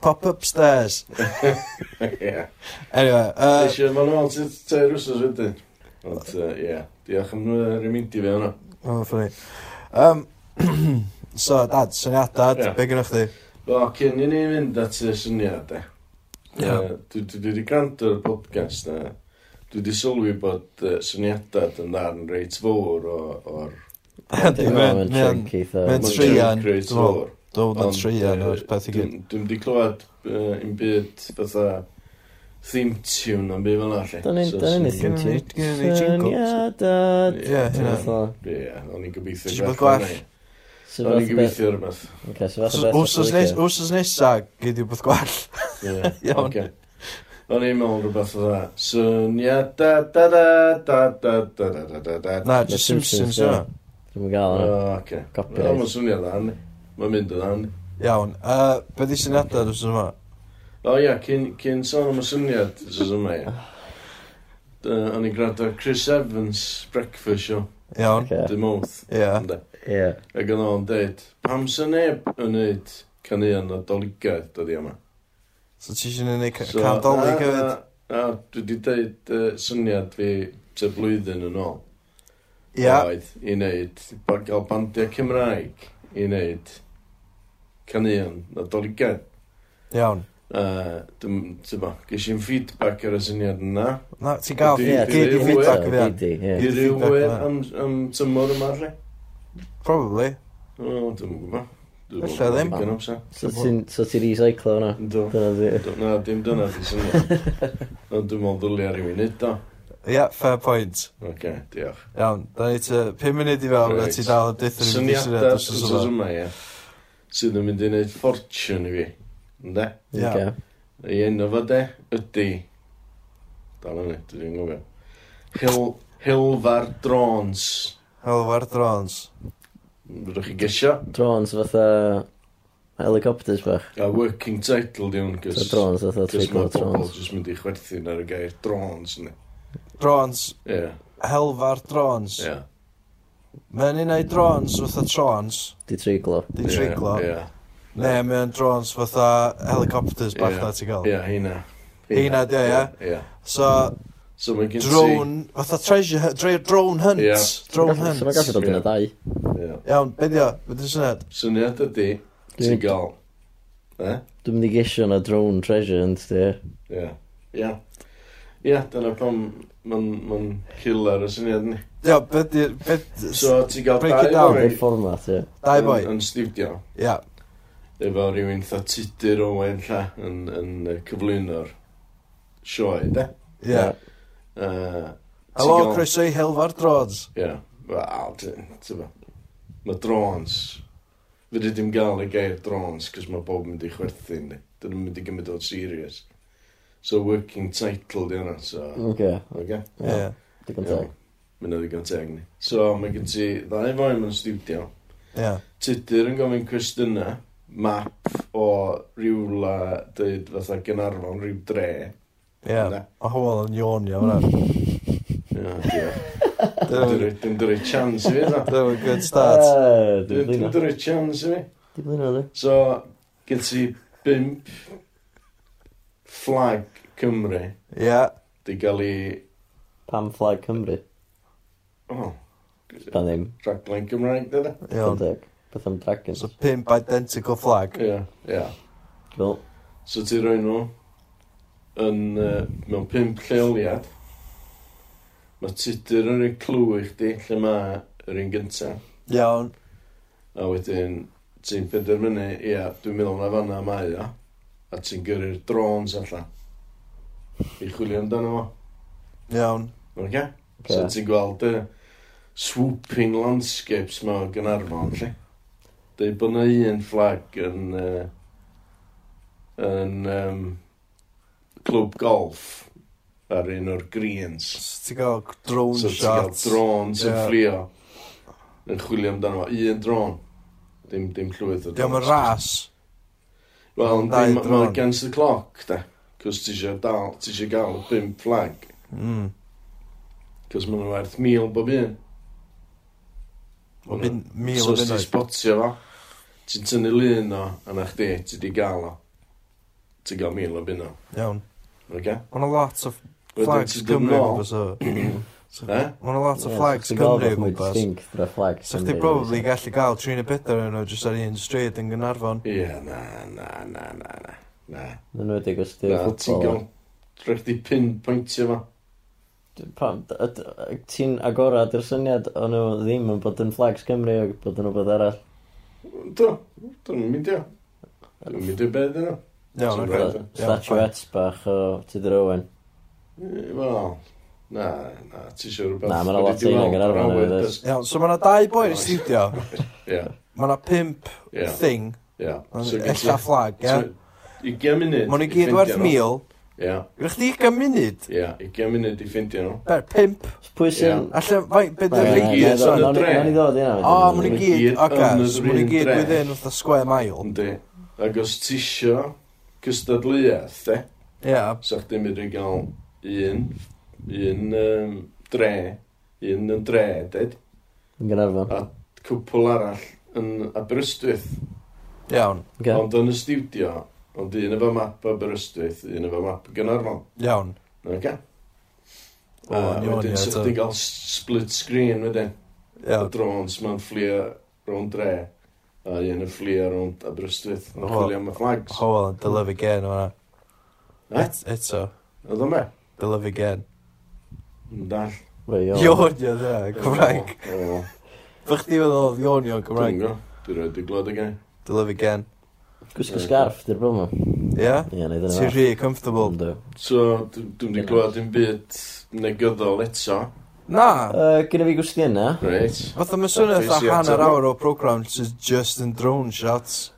[SPEAKER 2] Pop upstairs.
[SPEAKER 3] Ie.
[SPEAKER 2] Anyway, uh,
[SPEAKER 3] Eisiau, mae'n ôl, ti'n tair wsos wedyn.
[SPEAKER 6] Ond, yy, ie. Diolch am uh, remindi fi hwnna.
[SPEAKER 2] Mae'n ffynnu. Um, so, dad, syniadad,
[SPEAKER 6] Ie.
[SPEAKER 2] yeah. be gynnwch chi?
[SPEAKER 6] O, cyn i ni fynd at y syniad, e.
[SPEAKER 2] Ie.
[SPEAKER 6] Yy, Dwi dwi wedi gwrando ar y podcast na. Dwi wedi sylwi bod uh, syniadad yn ddarn reit fawr o... o'r...
[SPEAKER 2] Dwi'n mynd, dwi'n mynd,
[SPEAKER 1] eitha.
[SPEAKER 2] Mae'n treian,
[SPEAKER 6] reit
[SPEAKER 2] dwi'n meddwl.
[SPEAKER 6] fawr.
[SPEAKER 2] dwi'n
[SPEAKER 6] Ond,
[SPEAKER 2] mynd treian
[SPEAKER 6] yy,
[SPEAKER 2] o'r peth i gyd.
[SPEAKER 6] Dwi'n dwi'n wedi clywed uh, un byd fatha theme tune o'n byd fel na, lle.
[SPEAKER 1] Dyn ni'n
[SPEAKER 6] So,
[SPEAKER 1] dyn ni'n
[SPEAKER 6] swn-
[SPEAKER 2] Gynna ni- gynna ni jingles.
[SPEAKER 1] Syniadad.
[SPEAKER 2] Ie, hynna.
[SPEAKER 6] Ie, o'n i'n gobeithio
[SPEAKER 2] Ti'n bod
[SPEAKER 6] gwell.
[SPEAKER 2] gwell?
[SPEAKER 6] hwnna.
[SPEAKER 1] Sy'n
[SPEAKER 6] O'n
[SPEAKER 1] fath o beth.
[SPEAKER 6] i'n gobeithio rhywbeth.
[SPEAKER 1] Oce, sy'n fath o beth.
[SPEAKER 2] Wsos nes- wsos nesa, gyd i'w beth gwell.
[SPEAKER 6] Ie,
[SPEAKER 2] *laughs* Iawn.
[SPEAKER 6] oce. O'n i'n meddwl rhywbeth o dda. Syniad da da da da da da da da da da
[SPEAKER 2] Na,
[SPEAKER 1] The
[SPEAKER 2] just
[SPEAKER 1] Simpsons,
[SPEAKER 2] Simpsons,
[SPEAKER 1] ie.
[SPEAKER 2] yna.
[SPEAKER 1] Dwi'n gael hwnna.
[SPEAKER 6] O, oce.
[SPEAKER 1] Copyright.
[SPEAKER 6] O, Mae'n swnio dda, ni. Mae'n mynd o dda, ni.
[SPEAKER 2] Iawn, yy, be di syniadau dwi'n yma?
[SPEAKER 6] O ia, cyn cyn sôn am y syniad, sy'n yma ia. Yy, O'n i'n gwrando ar Chris Evans Breakfast Show,
[SPEAKER 2] Iawn,
[SPEAKER 1] Oce,
[SPEAKER 6] The Mouth.
[SPEAKER 2] ie.
[SPEAKER 6] ynde.
[SPEAKER 1] ie.
[SPEAKER 6] Ac yn o'n deud, pam sy'n neb yn neud canuion o doligau dod i yma?
[SPEAKER 2] So ti eisiau ni can
[SPEAKER 6] uh,
[SPEAKER 2] doli gyfyd?
[SPEAKER 6] A, dwi wedi deud uh, syniad fi te blwyddyn yn ôl.
[SPEAKER 2] Ia,
[SPEAKER 6] Oedd i wneud, gael bandiau Cymraeg i wneud canuion o doligau. oh.
[SPEAKER 2] iawn.
[SPEAKER 6] Uh, dwi'n, ti'n bo, ges i'n feedback ar y syniad yna.
[SPEAKER 2] Na, ti'n gael
[SPEAKER 6] Ydi,
[SPEAKER 1] Ie,
[SPEAKER 6] Ie,
[SPEAKER 2] gyd i
[SPEAKER 6] ydi,
[SPEAKER 2] feedback i fi
[SPEAKER 1] Ie,
[SPEAKER 2] hyn?
[SPEAKER 1] di, ie.
[SPEAKER 6] I
[SPEAKER 2] Ie,
[SPEAKER 6] rywun
[SPEAKER 2] feedback yna.
[SPEAKER 6] am, am tymor yma, lle?
[SPEAKER 2] Probably.
[SPEAKER 6] O, dwi'n gwybod. Dwi'n
[SPEAKER 2] Ella
[SPEAKER 6] gwbod
[SPEAKER 2] ddim.
[SPEAKER 6] digon amser.
[SPEAKER 1] So ti'n so ti'n recyclo hwnna?
[SPEAKER 6] Yndw.
[SPEAKER 1] Dyna di.
[SPEAKER 6] Do- Na, dim dyna di syniad.
[SPEAKER 2] *laughs*
[SPEAKER 6] Ond dwi'n meddwl ddylia rhywun nid o.
[SPEAKER 2] Ia, fair point.
[SPEAKER 6] Oce, diolch.
[SPEAKER 2] Iawn, da ni ti 5 munud i fewn, a
[SPEAKER 6] Reit.
[SPEAKER 2] ti dal yn dithyn i fi syniad
[SPEAKER 6] Syniadau
[SPEAKER 2] wrth
[SPEAKER 6] sy'n
[SPEAKER 2] yma.
[SPEAKER 6] yma, ie. Sydd yn mynd i wneud fortune i fi. Ynde?
[SPEAKER 2] Ia.
[SPEAKER 1] Oce.
[SPEAKER 6] Ei enw fo de, ydy... Dal yn ei, dwi'n gwybod. Hil, Hilfar Drones.
[SPEAKER 2] Helfa'r drones.
[SPEAKER 6] Rydych chi gesio?
[SPEAKER 1] Drones fatha... Helicopters bach.
[SPEAKER 6] A working title di hwn,
[SPEAKER 1] So
[SPEAKER 6] cys...
[SPEAKER 1] drones fatha
[SPEAKER 6] Cys mae
[SPEAKER 1] trickle
[SPEAKER 6] pobl
[SPEAKER 1] drones.
[SPEAKER 6] jyst mynd i chwerthin ar y gair drones, ne.
[SPEAKER 2] Drones,
[SPEAKER 6] Ie,
[SPEAKER 2] helfa'r drones.
[SPEAKER 6] ie.
[SPEAKER 2] Mae'n un o'i drones fatha trons,
[SPEAKER 1] Di triglo.
[SPEAKER 2] di triglo.
[SPEAKER 6] Ie,
[SPEAKER 2] Ne, mae'n drones fatha helicopters bach
[SPEAKER 6] Ie.
[SPEAKER 2] na ti'n gael.
[SPEAKER 6] ie, heina.
[SPEAKER 2] Heina 'di o, ie?
[SPEAKER 6] Ie.
[SPEAKER 2] So,
[SPEAKER 6] So mae gen ti...
[SPEAKER 2] drone, fatha treasure, hu- dre- drone
[SPEAKER 6] Ie.
[SPEAKER 2] hunt. Drone
[SPEAKER 1] So mae'n gallu
[SPEAKER 2] hunt.
[SPEAKER 1] dod yn y
[SPEAKER 6] Ie.
[SPEAKER 1] ddau.
[SPEAKER 6] Ie.
[SPEAKER 2] Iawn, be di o? Be di syniad?
[SPEAKER 6] Syniad ydi, ti'n
[SPEAKER 1] Dwi'n-
[SPEAKER 6] gael... E?
[SPEAKER 1] Dwi'n mynd i gesio na drone treasure yn sti.
[SPEAKER 6] Ie. Ie. Ie, dyna pam ma'n ma killer y syniad ni.
[SPEAKER 2] Ia, be di... Be di...
[SPEAKER 6] So ti'n gael
[SPEAKER 2] Break it
[SPEAKER 6] dau
[SPEAKER 2] down.
[SPEAKER 6] boi
[SPEAKER 1] Dwi'n fformat, ie.
[SPEAKER 2] Dau
[SPEAKER 6] yn-
[SPEAKER 2] boi.
[SPEAKER 6] Yn studio.
[SPEAKER 2] Ia.
[SPEAKER 6] Efo rhywun tha tudur Owen lla yn, yn yy, cyflwyno'r sioe, de?
[SPEAKER 2] Ia.
[SPEAKER 6] Uh,
[SPEAKER 2] Helo, croeso i Helfa'r Drones.
[SPEAKER 6] Ie. Wel, ti'n ba. Mae drones. Fydde dim gael y gair drones, cos mae bob yn mynd i chwerthu ni. Dyn nhw'n mynd i gymryd o'n serious. So, working title di hwnna, so...
[SPEAKER 1] Oce.
[SPEAKER 6] Oce?
[SPEAKER 2] Ie.
[SPEAKER 1] Digon Mm. teg.
[SPEAKER 6] Mynd oedd i gan teg ni. So, mae gen ti ddau foi mewn studio.
[SPEAKER 2] Ie.
[SPEAKER 6] Tudur yn gofyn cwestiyna. Map o rywla, dweud fatha Gynarfon, rhyw dre.
[SPEAKER 2] Ie.
[SPEAKER 6] Na.
[SPEAKER 2] Mae hwyl yn iawn iawn
[SPEAKER 6] *laughs*
[SPEAKER 2] hwnna.
[SPEAKER 6] Ie, ie.
[SPEAKER 2] Dyna-
[SPEAKER 6] Dwi'n dweud chance i fi, na.
[SPEAKER 2] Dyna mae'n good
[SPEAKER 6] *laughs*
[SPEAKER 2] start.
[SPEAKER 1] Yy, Dwi'n
[SPEAKER 6] Dwi'n
[SPEAKER 1] blino.
[SPEAKER 6] dweud chance i fi.
[SPEAKER 1] Dwi'n blino, dwi.
[SPEAKER 6] So, gyd ti bimp flag Cymru
[SPEAKER 2] Ie.
[SPEAKER 6] di gael ei...
[SPEAKER 1] Pam flag Cymru.
[SPEAKER 6] Oh,
[SPEAKER 1] Da ddim.
[SPEAKER 6] raglen Gymraeg, e? dyna?
[SPEAKER 1] Digon
[SPEAKER 2] Iawn.
[SPEAKER 1] teg. Beth am dragons.
[SPEAKER 2] So, pimp identical flag.
[SPEAKER 6] Ie, ie.
[SPEAKER 1] Fel,
[SPEAKER 6] So ti roi nhw yn, uh, mewn pimp lleoliad. Mae tudur yn rhoi clw i chdi lle mae yr un gynta.
[SPEAKER 2] Iawn.
[SPEAKER 6] A wedyn ti'n penderfynu, ia, dwi'n meddwl na fanna mae o. A ti'n gyrru'r drones allan. I chwilio amdano fo.
[SPEAKER 2] Iawn.
[SPEAKER 6] Okay?
[SPEAKER 1] Oce.
[SPEAKER 6] So ti'n gweld y swooping landscapes ma o Gynarfon, lle? Dwi bod na un flag yn... Uh, yn um, clwb golf ar un o'r greens.
[SPEAKER 2] So, Ti'n gael drone
[SPEAKER 6] So ti'n cael
[SPEAKER 2] shots.
[SPEAKER 6] drones yn
[SPEAKER 2] Ie.
[SPEAKER 6] fflio. Yn chwilio amdano fo. Un dron. Dim, dim llwyth o
[SPEAKER 2] Diolch yn ras.
[SPEAKER 6] Wel,
[SPEAKER 2] Dau
[SPEAKER 6] dim-
[SPEAKER 2] drone.
[SPEAKER 6] mae'n against the clock, da. Cos ti eisiau dal, ti eisiau gael y bim flag.
[SPEAKER 2] Mm.
[SPEAKER 6] Cos maen nhw werth mil bob un.
[SPEAKER 2] O bin- Mil
[SPEAKER 6] So
[SPEAKER 2] o
[SPEAKER 6] os ti'n
[SPEAKER 2] bunnoedd.
[SPEAKER 6] spotio fo, ti'n tynnu lun o, a na chdi, ti di gael o. Ti'n gael mil o bunno,
[SPEAKER 2] Iawn.
[SPEAKER 6] oce?
[SPEAKER 2] Ond a lot of
[SPEAKER 6] Wedyn
[SPEAKER 2] flags
[SPEAKER 6] ti'n dod
[SPEAKER 2] Cymru.
[SPEAKER 6] *clears throat* nôl.
[SPEAKER 2] fysa. Mae
[SPEAKER 6] Na?
[SPEAKER 2] yna lot o
[SPEAKER 1] Ie,
[SPEAKER 2] flags
[SPEAKER 1] so ti'n gweld
[SPEAKER 2] Cymru
[SPEAKER 1] bod
[SPEAKER 2] o
[SPEAKER 1] mwy
[SPEAKER 2] gwmpas.
[SPEAKER 1] distinct gyda flag
[SPEAKER 2] So chdi probably gallu gael 300 yn nhw jyst ar un stryd yn Gynarfon.
[SPEAKER 6] Ie, na, na, na, na, na. Na,
[SPEAKER 1] Yn wedi'i gwestiwn
[SPEAKER 6] na ti'n
[SPEAKER 1] ffwtbol.
[SPEAKER 6] gael.
[SPEAKER 2] eh?
[SPEAKER 6] Rhaid i pin pwyntio ma.
[SPEAKER 1] Pam- yd- yd- Ti'n agorad i'r syniad o'n nhw ddim yn bod yn flags Cymru ac bod yn rhywbeth arall.
[SPEAKER 6] Do, dwi'n mynd i o. Dwi'n mynd i beth yna.
[SPEAKER 2] Iawn,
[SPEAKER 6] Ti'n
[SPEAKER 2] oce.
[SPEAKER 1] Fatha
[SPEAKER 6] gweld?
[SPEAKER 2] Iawn, fine.
[SPEAKER 1] Statuettes bach o Tudur Owen.
[SPEAKER 6] Wel, na, na, ti'n siŵr rhywbeth.
[SPEAKER 1] Na, ma' 'na lot o hynna yn Gaernarfon, hefyd, oes?
[SPEAKER 2] Iawn, so mae yna dau boi yn y studio.
[SPEAKER 6] Ie,
[SPEAKER 2] Mae yna pimp
[SPEAKER 6] ie,
[SPEAKER 2] thing,
[SPEAKER 6] ie. So,
[SPEAKER 2] ella flag, ie.
[SPEAKER 6] I gem munud.
[SPEAKER 2] Mae nhw
[SPEAKER 6] i
[SPEAKER 2] i gyd
[SPEAKER 6] ffindio
[SPEAKER 2] werth
[SPEAKER 6] nhw.
[SPEAKER 2] mil.
[SPEAKER 6] Ie,
[SPEAKER 2] Gwyrwch chi gan munud?
[SPEAKER 6] ie, i gem munud i ffindio nhw.
[SPEAKER 2] Ber, pimp.
[SPEAKER 1] Pwy sy'n...
[SPEAKER 2] Alla, fai, beth
[SPEAKER 1] Ie,
[SPEAKER 2] yw'r
[SPEAKER 6] Ie,
[SPEAKER 1] ie,
[SPEAKER 6] gyd
[SPEAKER 1] nawn ni-
[SPEAKER 2] regiad,
[SPEAKER 6] yn
[SPEAKER 2] son?
[SPEAKER 6] y
[SPEAKER 1] nawn ni-
[SPEAKER 6] dre.
[SPEAKER 1] nawn ni ddod i
[SPEAKER 2] O,
[SPEAKER 1] hynna.
[SPEAKER 2] mae nhw i
[SPEAKER 6] Ma' nhw
[SPEAKER 2] gyd,
[SPEAKER 6] gyd
[SPEAKER 2] oce.
[SPEAKER 6] yn y
[SPEAKER 2] So mae nhw i
[SPEAKER 6] un
[SPEAKER 2] gyd
[SPEAKER 6] dre.
[SPEAKER 2] within fatha square mile.
[SPEAKER 6] Yndi. Ac os ti isio cystadleuaeth, e,
[SPEAKER 2] Ie,
[SPEAKER 6] sa chdi'n mynd i gael un, un um, dre, un yn dre, ded,
[SPEAKER 1] Yn Gynarfon.
[SPEAKER 6] a cwpl arall yn Aberystwyth.
[SPEAKER 2] iawn,
[SPEAKER 1] Oce.
[SPEAKER 6] Ond yn y studio, ond un efo map Aberystwyth, un efo map Gynarfon.
[SPEAKER 2] iawn.
[SPEAKER 6] Okay?
[SPEAKER 2] O,
[SPEAKER 6] a
[SPEAKER 2] ni o'n
[SPEAKER 6] wedyn
[SPEAKER 2] ie,
[SPEAKER 6] sa
[SPEAKER 2] to.
[SPEAKER 6] chdi'n gael s- split screen wedyn. Y
[SPEAKER 2] Iawn.
[SPEAKER 6] drones ma'n fflio rownd dre, a un yn fflio rownd Aberystwyth. Yn
[SPEAKER 2] O.
[SPEAKER 6] chwilio am y flags.
[SPEAKER 2] Howell yn dylyfu gen o'na.
[SPEAKER 6] Eh?
[SPEAKER 2] Eto,
[SPEAKER 6] Oedd o'n be?
[SPEAKER 2] dylyfu gen.
[SPEAKER 6] Dall.
[SPEAKER 1] Wel, iawn.
[SPEAKER 2] Ion, ie, ie, Cymraeg.
[SPEAKER 6] O, o.
[SPEAKER 2] Fych chi feddwl oedd ion, ion,
[SPEAKER 6] Dwi'n
[SPEAKER 2] Cymraeg.
[SPEAKER 6] go. Dwi'n rhaid i glod again.
[SPEAKER 2] Dylyfu gen.
[SPEAKER 1] Gwisgo sgarff, di'r brown yma.
[SPEAKER 2] Ie?
[SPEAKER 1] Ie, neud yna.
[SPEAKER 2] Ti'n rhy comfortable.
[SPEAKER 6] So, dw- dwi'n di glod yn byd negyddol eto.
[SPEAKER 2] Na,
[SPEAKER 1] Gynna fi gwestiwn yna.
[SPEAKER 6] Reit.
[SPEAKER 2] fatha mae swnio
[SPEAKER 6] Dwi'n
[SPEAKER 2] fatha
[SPEAKER 6] siŵr,
[SPEAKER 2] hanner
[SPEAKER 6] t'bo.
[SPEAKER 2] awr o program sydd just yn drone shots.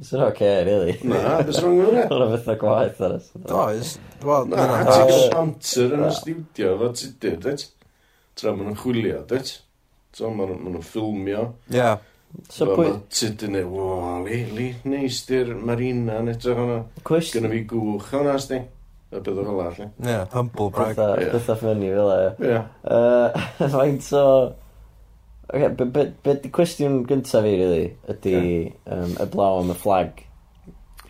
[SPEAKER 1] Sy'n oce, really. *laughs*
[SPEAKER 6] Na, beth rong yn hwnna?
[SPEAKER 1] Hwna beth o gwaith ar ys.
[SPEAKER 2] Does, wel,
[SPEAKER 6] Na,
[SPEAKER 2] dyna.
[SPEAKER 6] ti'n gael
[SPEAKER 1] Yy,
[SPEAKER 6] banter yn y
[SPEAKER 1] na.
[SPEAKER 6] studio, fo ti di, dweud? Tra maen nhw'n chwilio, dweud? So, maen nhw- maen nhw'n ffilmio.
[SPEAKER 2] Ie,
[SPEAKER 1] So pwy...
[SPEAKER 6] Ti di neud, wo, li, li, neis di'r marina yn edrych hwnna.
[SPEAKER 1] Cwestiwn...
[SPEAKER 6] Gynna fi gwch hwnna, sti. Y beth o fel arall,
[SPEAKER 2] ie, humble brag.
[SPEAKER 1] Bethau
[SPEAKER 6] ie.
[SPEAKER 1] bethau ffynnu fel e.
[SPEAKER 6] Ie.
[SPEAKER 1] Yy, *laughs* Faint o... Oce, be- be be di cwestiwn gyntaf fi, really, ydy yym, eblaw am y flag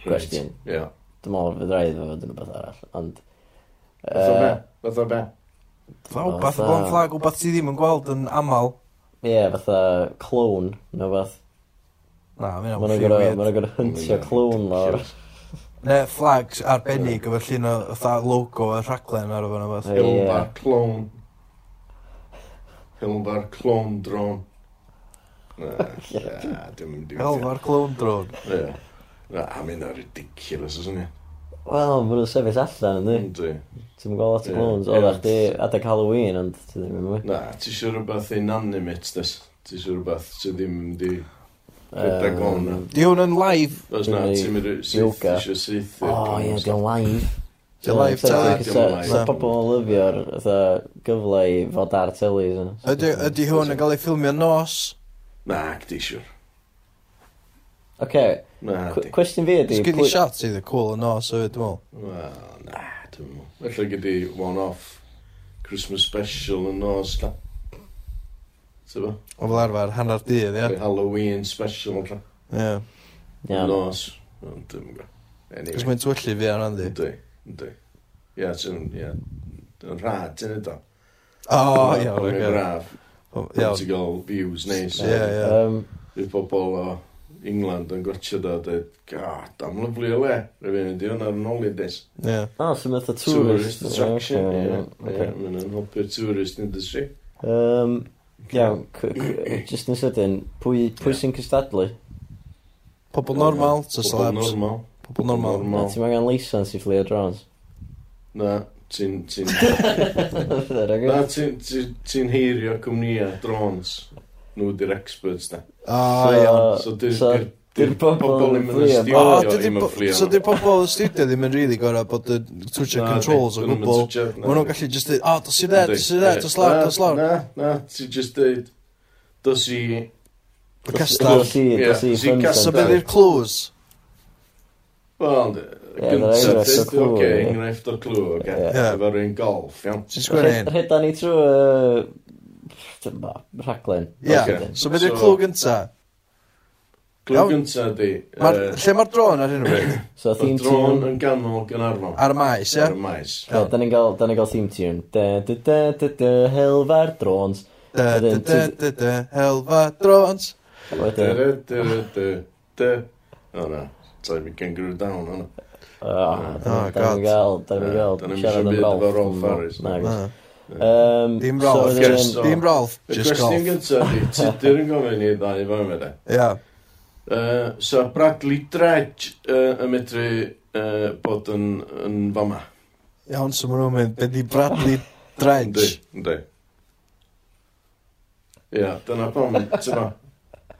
[SPEAKER 1] gwestiwn.
[SPEAKER 6] Ie.
[SPEAKER 1] Dwi'n meddwl fydd rhaid fo fod yn rhywbeth arall, ond...
[SPEAKER 6] Fatha
[SPEAKER 1] yy,
[SPEAKER 6] be? Fatha be?
[SPEAKER 2] Fatha wbath o blon flag, wbath ti ddim yn gweld yn aml.
[SPEAKER 1] Ie, fatha clown, neu beth.
[SPEAKER 2] Na,
[SPEAKER 6] Oh,
[SPEAKER 2] mi
[SPEAKER 1] Mae'n
[SPEAKER 2] na'n
[SPEAKER 1] gorau
[SPEAKER 2] weird.
[SPEAKER 1] ma gora hyntio clown lawr.
[SPEAKER 2] Ne, flags arbennig efo llun o fatha logo a rhaglen ar yfo'n yfo'n.
[SPEAKER 1] Ie.
[SPEAKER 6] Hilbar clone. Hilbar clone drone.
[SPEAKER 1] *laughs*
[SPEAKER 6] Na, na, dim yn
[SPEAKER 2] Hel
[SPEAKER 6] diwedd.
[SPEAKER 2] fo'r clone drone.
[SPEAKER 6] Ie. Na, a mi na ridiculous os yna.
[SPEAKER 1] Wel, maen nhw'n sefyll allan, ynddi?
[SPEAKER 6] Ynddi.
[SPEAKER 1] Ti'n gweld lot o
[SPEAKER 6] Ie,
[SPEAKER 1] clowns.
[SPEAKER 6] ie.
[SPEAKER 1] Oedd eich di adeg Halloween, ond ti ddim yn mynd.
[SPEAKER 6] Na, ti siw rhywbeth inanimate, nes? Ti siw rhywbeth sydd ddim yn di... Rhedeg on, na.
[SPEAKER 2] Di hwn yn live.
[SPEAKER 6] Os na,
[SPEAKER 1] Neu
[SPEAKER 6] ti'n mynd i syth,
[SPEAKER 1] yoga.
[SPEAKER 6] isio syth.
[SPEAKER 1] O, ie, di o'n live.
[SPEAKER 2] Di o'n live
[SPEAKER 1] Sa-
[SPEAKER 2] ta,
[SPEAKER 1] sa-
[SPEAKER 6] di o'n
[SPEAKER 1] sa-
[SPEAKER 6] live.
[SPEAKER 1] Sa pobl yn lyfio'r fatha, gyfle i fod ar telis.
[SPEAKER 2] Ydy ydy hwn yn cael ei ffilmio nos.
[SPEAKER 6] Na, gdi siwr.
[SPEAKER 1] Oce,
[SPEAKER 6] Na,
[SPEAKER 1] cw-
[SPEAKER 6] di.
[SPEAKER 1] cwestiwn fi ydi...
[SPEAKER 2] Sgyn i
[SPEAKER 1] pwy-
[SPEAKER 2] shots eitha cool yn nos hefyd, dwi'n meddwl.
[SPEAKER 6] Wel, na, dwi'n mwyn. Felly gyda one-off Christmas special yn nos, la. Ti'n bo?
[SPEAKER 2] O fel arfer, hanner dydd, ie.
[SPEAKER 6] Yeah. Halloween special, la.
[SPEAKER 2] Ie.
[SPEAKER 1] Iawn.
[SPEAKER 6] Nos. Ond dim yn gwybod.
[SPEAKER 2] Cos
[SPEAKER 6] Anyway.
[SPEAKER 2] mae'n twyllu fi ar hwnna,
[SPEAKER 6] Ynddi, ynddi. Ia, ti'n, ia. Yn rhad, ti'n edo.
[SPEAKER 2] O, iawn,
[SPEAKER 6] Mae'n
[SPEAKER 2] oce.
[SPEAKER 6] braf.
[SPEAKER 2] O,
[SPEAKER 6] Ti'n
[SPEAKER 2] Iawn.
[SPEAKER 6] gael views neis.
[SPEAKER 2] Ie, ie.
[SPEAKER 1] Yym,
[SPEAKER 6] Fydd pobl o England yn gwachio da, dweud, god, am lyflu o le. Rwy'n mynd i hwnna yn holidays.
[SPEAKER 2] Ie.
[SPEAKER 1] O, so mae'n fatha tourist.
[SPEAKER 6] Tourist attraction,
[SPEAKER 1] Ie,
[SPEAKER 6] ie.
[SPEAKER 1] oce,
[SPEAKER 6] Ie, Mae'n yn helpu'r tourist industry.
[SPEAKER 1] oce. Yym, Iawn, c- c- jyst yn sydyn, pwy pwy
[SPEAKER 6] Ie.
[SPEAKER 1] sy'n cystadlu?
[SPEAKER 2] Pobl normal, ta
[SPEAKER 6] Pobl
[SPEAKER 2] slabs.
[SPEAKER 6] normal.
[SPEAKER 2] Pobl normal.
[SPEAKER 1] Na,
[SPEAKER 6] Normal.
[SPEAKER 1] Ti'n angen leisans i fflio drones? *laughs*
[SPEAKER 6] Na, ti'n, ti'n,
[SPEAKER 1] Fydd e'n
[SPEAKER 6] na,
[SPEAKER 1] agos?
[SPEAKER 6] ti'n, ti'n- ti'n heirio cwmnïa, drones. Nhw di'r experts, da.
[SPEAKER 2] O,
[SPEAKER 1] So-
[SPEAKER 2] iawn.
[SPEAKER 6] So, di'r
[SPEAKER 1] so,
[SPEAKER 6] di'r-
[SPEAKER 1] di'r
[SPEAKER 6] di'r
[SPEAKER 1] pobol
[SPEAKER 6] pobl
[SPEAKER 1] yn
[SPEAKER 6] yn
[SPEAKER 1] fflio.
[SPEAKER 6] mynd yn
[SPEAKER 2] O,
[SPEAKER 6] stiwdio,
[SPEAKER 2] dydi
[SPEAKER 6] ddim yn
[SPEAKER 2] po-
[SPEAKER 6] fflio.
[SPEAKER 2] so dy'r pobol y studio ddim yn rili gorau bod y twitio controls o gwbl. Mae nhw'n gallu just dweud, o, dos i dde, dos i dde, dos lawr, dos lawr.
[SPEAKER 6] Na, na, ti just dweud, dos i...
[SPEAKER 2] Y
[SPEAKER 1] Dos
[SPEAKER 2] castell.
[SPEAKER 1] i,
[SPEAKER 6] Ie,
[SPEAKER 1] dos i
[SPEAKER 6] dos i
[SPEAKER 1] ffynsan.
[SPEAKER 6] cas-
[SPEAKER 2] So beth yw'r clues?
[SPEAKER 6] Wel,
[SPEAKER 1] Ie, ma'
[SPEAKER 6] gyntaf,
[SPEAKER 1] enghraifft o clw,
[SPEAKER 6] dweud, oce,
[SPEAKER 1] ie.
[SPEAKER 6] enghraifft o clw, oce,
[SPEAKER 1] Ie.
[SPEAKER 2] Ie.
[SPEAKER 6] efo rhywun golf, iawn.
[SPEAKER 2] Ti'n sgwini hyn?
[SPEAKER 1] Rheda ni trwy uh, rhaglen.
[SPEAKER 2] Ie.
[SPEAKER 6] Ocê.
[SPEAKER 2] So beth yw'r
[SPEAKER 6] So-
[SPEAKER 2] clw gynta?
[SPEAKER 6] Clyw
[SPEAKER 2] Iawn.
[SPEAKER 6] gynta di.
[SPEAKER 2] Ma'r,
[SPEAKER 6] yy,
[SPEAKER 2] lle mae'r dron ar hyn o
[SPEAKER 6] *coughs*
[SPEAKER 2] bryd?
[SPEAKER 1] So,
[SPEAKER 6] Mae'r
[SPEAKER 1] theme
[SPEAKER 6] dron
[SPEAKER 1] tune...
[SPEAKER 6] yn ganol Gynarfon.
[SPEAKER 2] Ar y maes, ie?
[SPEAKER 6] Ar y maes.
[SPEAKER 1] Wel, da ni'n gael, da ni'n gael theme tune. Da, da, da, da, da, helfa'r drons.
[SPEAKER 2] Da, da, da, da, da, helfa drons.
[SPEAKER 1] A
[SPEAKER 6] Da,
[SPEAKER 1] Wedyn,
[SPEAKER 6] da, da, da, da. O na, ta'i mi Kangaroo Down hwnna.
[SPEAKER 1] Ah,
[SPEAKER 2] Oh,
[SPEAKER 1] da ni'n
[SPEAKER 2] God.
[SPEAKER 1] gael, da ni'n
[SPEAKER 6] Ie,
[SPEAKER 1] gael,
[SPEAKER 6] da ni'n
[SPEAKER 1] siarad am
[SPEAKER 6] siarad
[SPEAKER 1] Rolf.
[SPEAKER 6] efo Rolf Harris.
[SPEAKER 1] Nagos.
[SPEAKER 2] Na.
[SPEAKER 1] Yym,
[SPEAKER 2] Dim
[SPEAKER 1] so
[SPEAKER 2] Rolf,
[SPEAKER 1] wedyn-
[SPEAKER 6] yes.
[SPEAKER 2] Dim Rolf,
[SPEAKER 6] Y
[SPEAKER 2] just
[SPEAKER 6] cwestiwn
[SPEAKER 2] golf.
[SPEAKER 6] gynta di, tudur yn gofyn i ddau fawr mewn e.
[SPEAKER 2] Ia.
[SPEAKER 6] Yy, So Bradley Dredge yy, yn medru yy, bod yn, yn fama.
[SPEAKER 2] Iawn, so maen nhw'n mynd, be di
[SPEAKER 6] *laughs*
[SPEAKER 2] Bradley
[SPEAKER 6] Yndi,
[SPEAKER 2] Dredge?
[SPEAKER 6] yndi. Ia, dyna pam, tyma.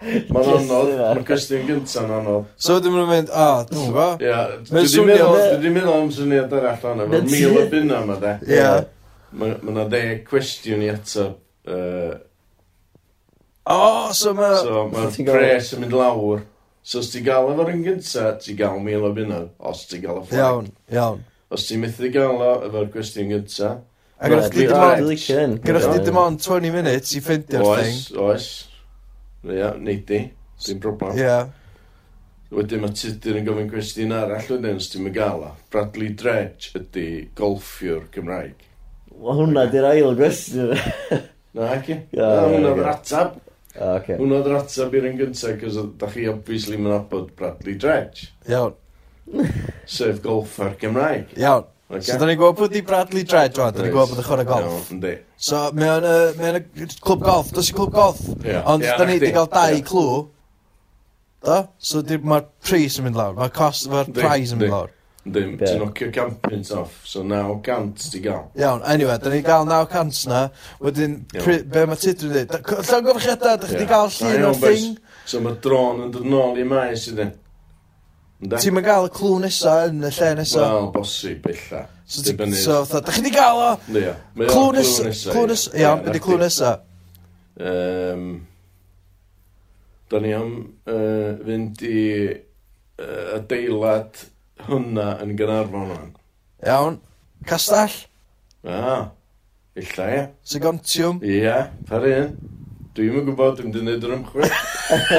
[SPEAKER 6] Mae'n anodd,
[SPEAKER 1] hynna.
[SPEAKER 6] mae'r cwestiwn gynta'n anodd.
[SPEAKER 2] So ydyn nhw'n mynd, o, dwi'n gwybod?
[SPEAKER 6] Ia,
[SPEAKER 2] Mae'n
[SPEAKER 6] dwi di
[SPEAKER 2] swnio
[SPEAKER 6] meddwl,
[SPEAKER 1] fel-
[SPEAKER 6] dwi di meddwl am syniad arall o'n efo,
[SPEAKER 1] Mae'n
[SPEAKER 6] mil o
[SPEAKER 1] swnio-
[SPEAKER 6] bunna yma de.
[SPEAKER 2] Ia.
[SPEAKER 6] Mae yna deg cwestiwn i atab. yy,
[SPEAKER 2] O, so mae...
[SPEAKER 6] So mae'r
[SPEAKER 1] ti'n gael-
[SPEAKER 6] pres yn mynd lawr. So os ti'n gael efo'r un gynta, ti'n gael mil o bunna. Os ti'n gael y flag.
[SPEAKER 2] Iawn, iawn.
[SPEAKER 6] Os ti'n methu gael o efo'r cwestiwn gynta,
[SPEAKER 2] A gyda
[SPEAKER 1] Wel,
[SPEAKER 2] chdi dim
[SPEAKER 1] dwi-
[SPEAKER 2] ond...
[SPEAKER 1] dwi licio hyn.
[SPEAKER 2] Gyda chdi
[SPEAKER 1] Ie.
[SPEAKER 2] dim ond 20 minutes i ffeindio'r thing.
[SPEAKER 6] Oes, oes. Ia, neud di. Dim problem.
[SPEAKER 2] Ia.
[SPEAKER 6] Wedyn mae Tudur yn gofyn cwestiwn arall wedyn os ti'n mynd gael o. Bradley Dredge ydy golffiwr Cymraeg.
[SPEAKER 1] Wel, hwnna di'r ail gwestiwn. *laughs*
[SPEAKER 6] Na, ac i?
[SPEAKER 1] Ie,
[SPEAKER 6] Na,
[SPEAKER 1] ie,
[SPEAKER 6] hwnna
[SPEAKER 1] ie.
[SPEAKER 6] o'r atab.
[SPEAKER 1] Ah, oce.
[SPEAKER 6] Hwnna o'r atab i'r un gyntaf, cos o- da chi obviously mynd abod Bradley Dredge.
[SPEAKER 2] Iawn,
[SPEAKER 6] Sef golffer Cymraeg.
[SPEAKER 2] iawn.
[SPEAKER 6] Ocê?
[SPEAKER 2] So, da ni'n gwybod pwy di Bradley Dredge, rwan. Da ni'n gwybod bod yn chwarae golf.
[SPEAKER 6] Iawn, Yndi.
[SPEAKER 2] So, mae o'n yy, mae o'n y clwb golf, dos i clwb golf.
[SPEAKER 6] Ie.
[SPEAKER 2] Ond
[SPEAKER 6] Ie,
[SPEAKER 2] da ni
[SPEAKER 6] chdi.
[SPEAKER 2] wedi cael dau
[SPEAKER 6] Ie.
[SPEAKER 2] clw. Do? So, di- mae'r pris yn mynd lawr, mae'r cost, mae'r
[SPEAKER 6] Yndi,
[SPEAKER 2] prize yn mynd
[SPEAKER 6] yndi.
[SPEAKER 2] lawr.
[SPEAKER 6] Dim,
[SPEAKER 1] Be?
[SPEAKER 6] ti'n nocio campynt off, so 900 ti gael.
[SPEAKER 2] Iawn, anyway, da ni'n cael 900 na. Wedyn,
[SPEAKER 6] Iawn.
[SPEAKER 2] pri- be mae Tudor yn dweud? Llawn gofrchiadau, da
[SPEAKER 6] Ie.
[SPEAKER 2] chdi gael
[SPEAKER 6] Na,
[SPEAKER 2] llun
[SPEAKER 6] iawn,
[SPEAKER 2] o'r
[SPEAKER 6] boys.
[SPEAKER 2] thing.
[SPEAKER 6] So mae dron yn dod nôl i maes i ddyn.
[SPEAKER 2] Ti'n mynd gael y clw nesa yn y lle nesa.
[SPEAKER 6] Wel, bosib, bella.
[SPEAKER 2] So, ti-
[SPEAKER 6] Dibynnu.
[SPEAKER 2] so, fatha, da chi wedi gael o?
[SPEAKER 6] Ia. Mae
[SPEAKER 2] Clw
[SPEAKER 6] o'n
[SPEAKER 2] nesa, clw nesa, iawn, beth i clw nesa?
[SPEAKER 6] Yym... Da ni am yy, fynd i yy, adeilad hwnna yn Gynarfon o'n.
[SPEAKER 2] Iawn, castell,
[SPEAKER 6] Ah, illa ia.
[SPEAKER 2] segontiwm,
[SPEAKER 6] Ia, par un. Dwi'm yn gwybod, dwi'n di wneud yr ymchwil.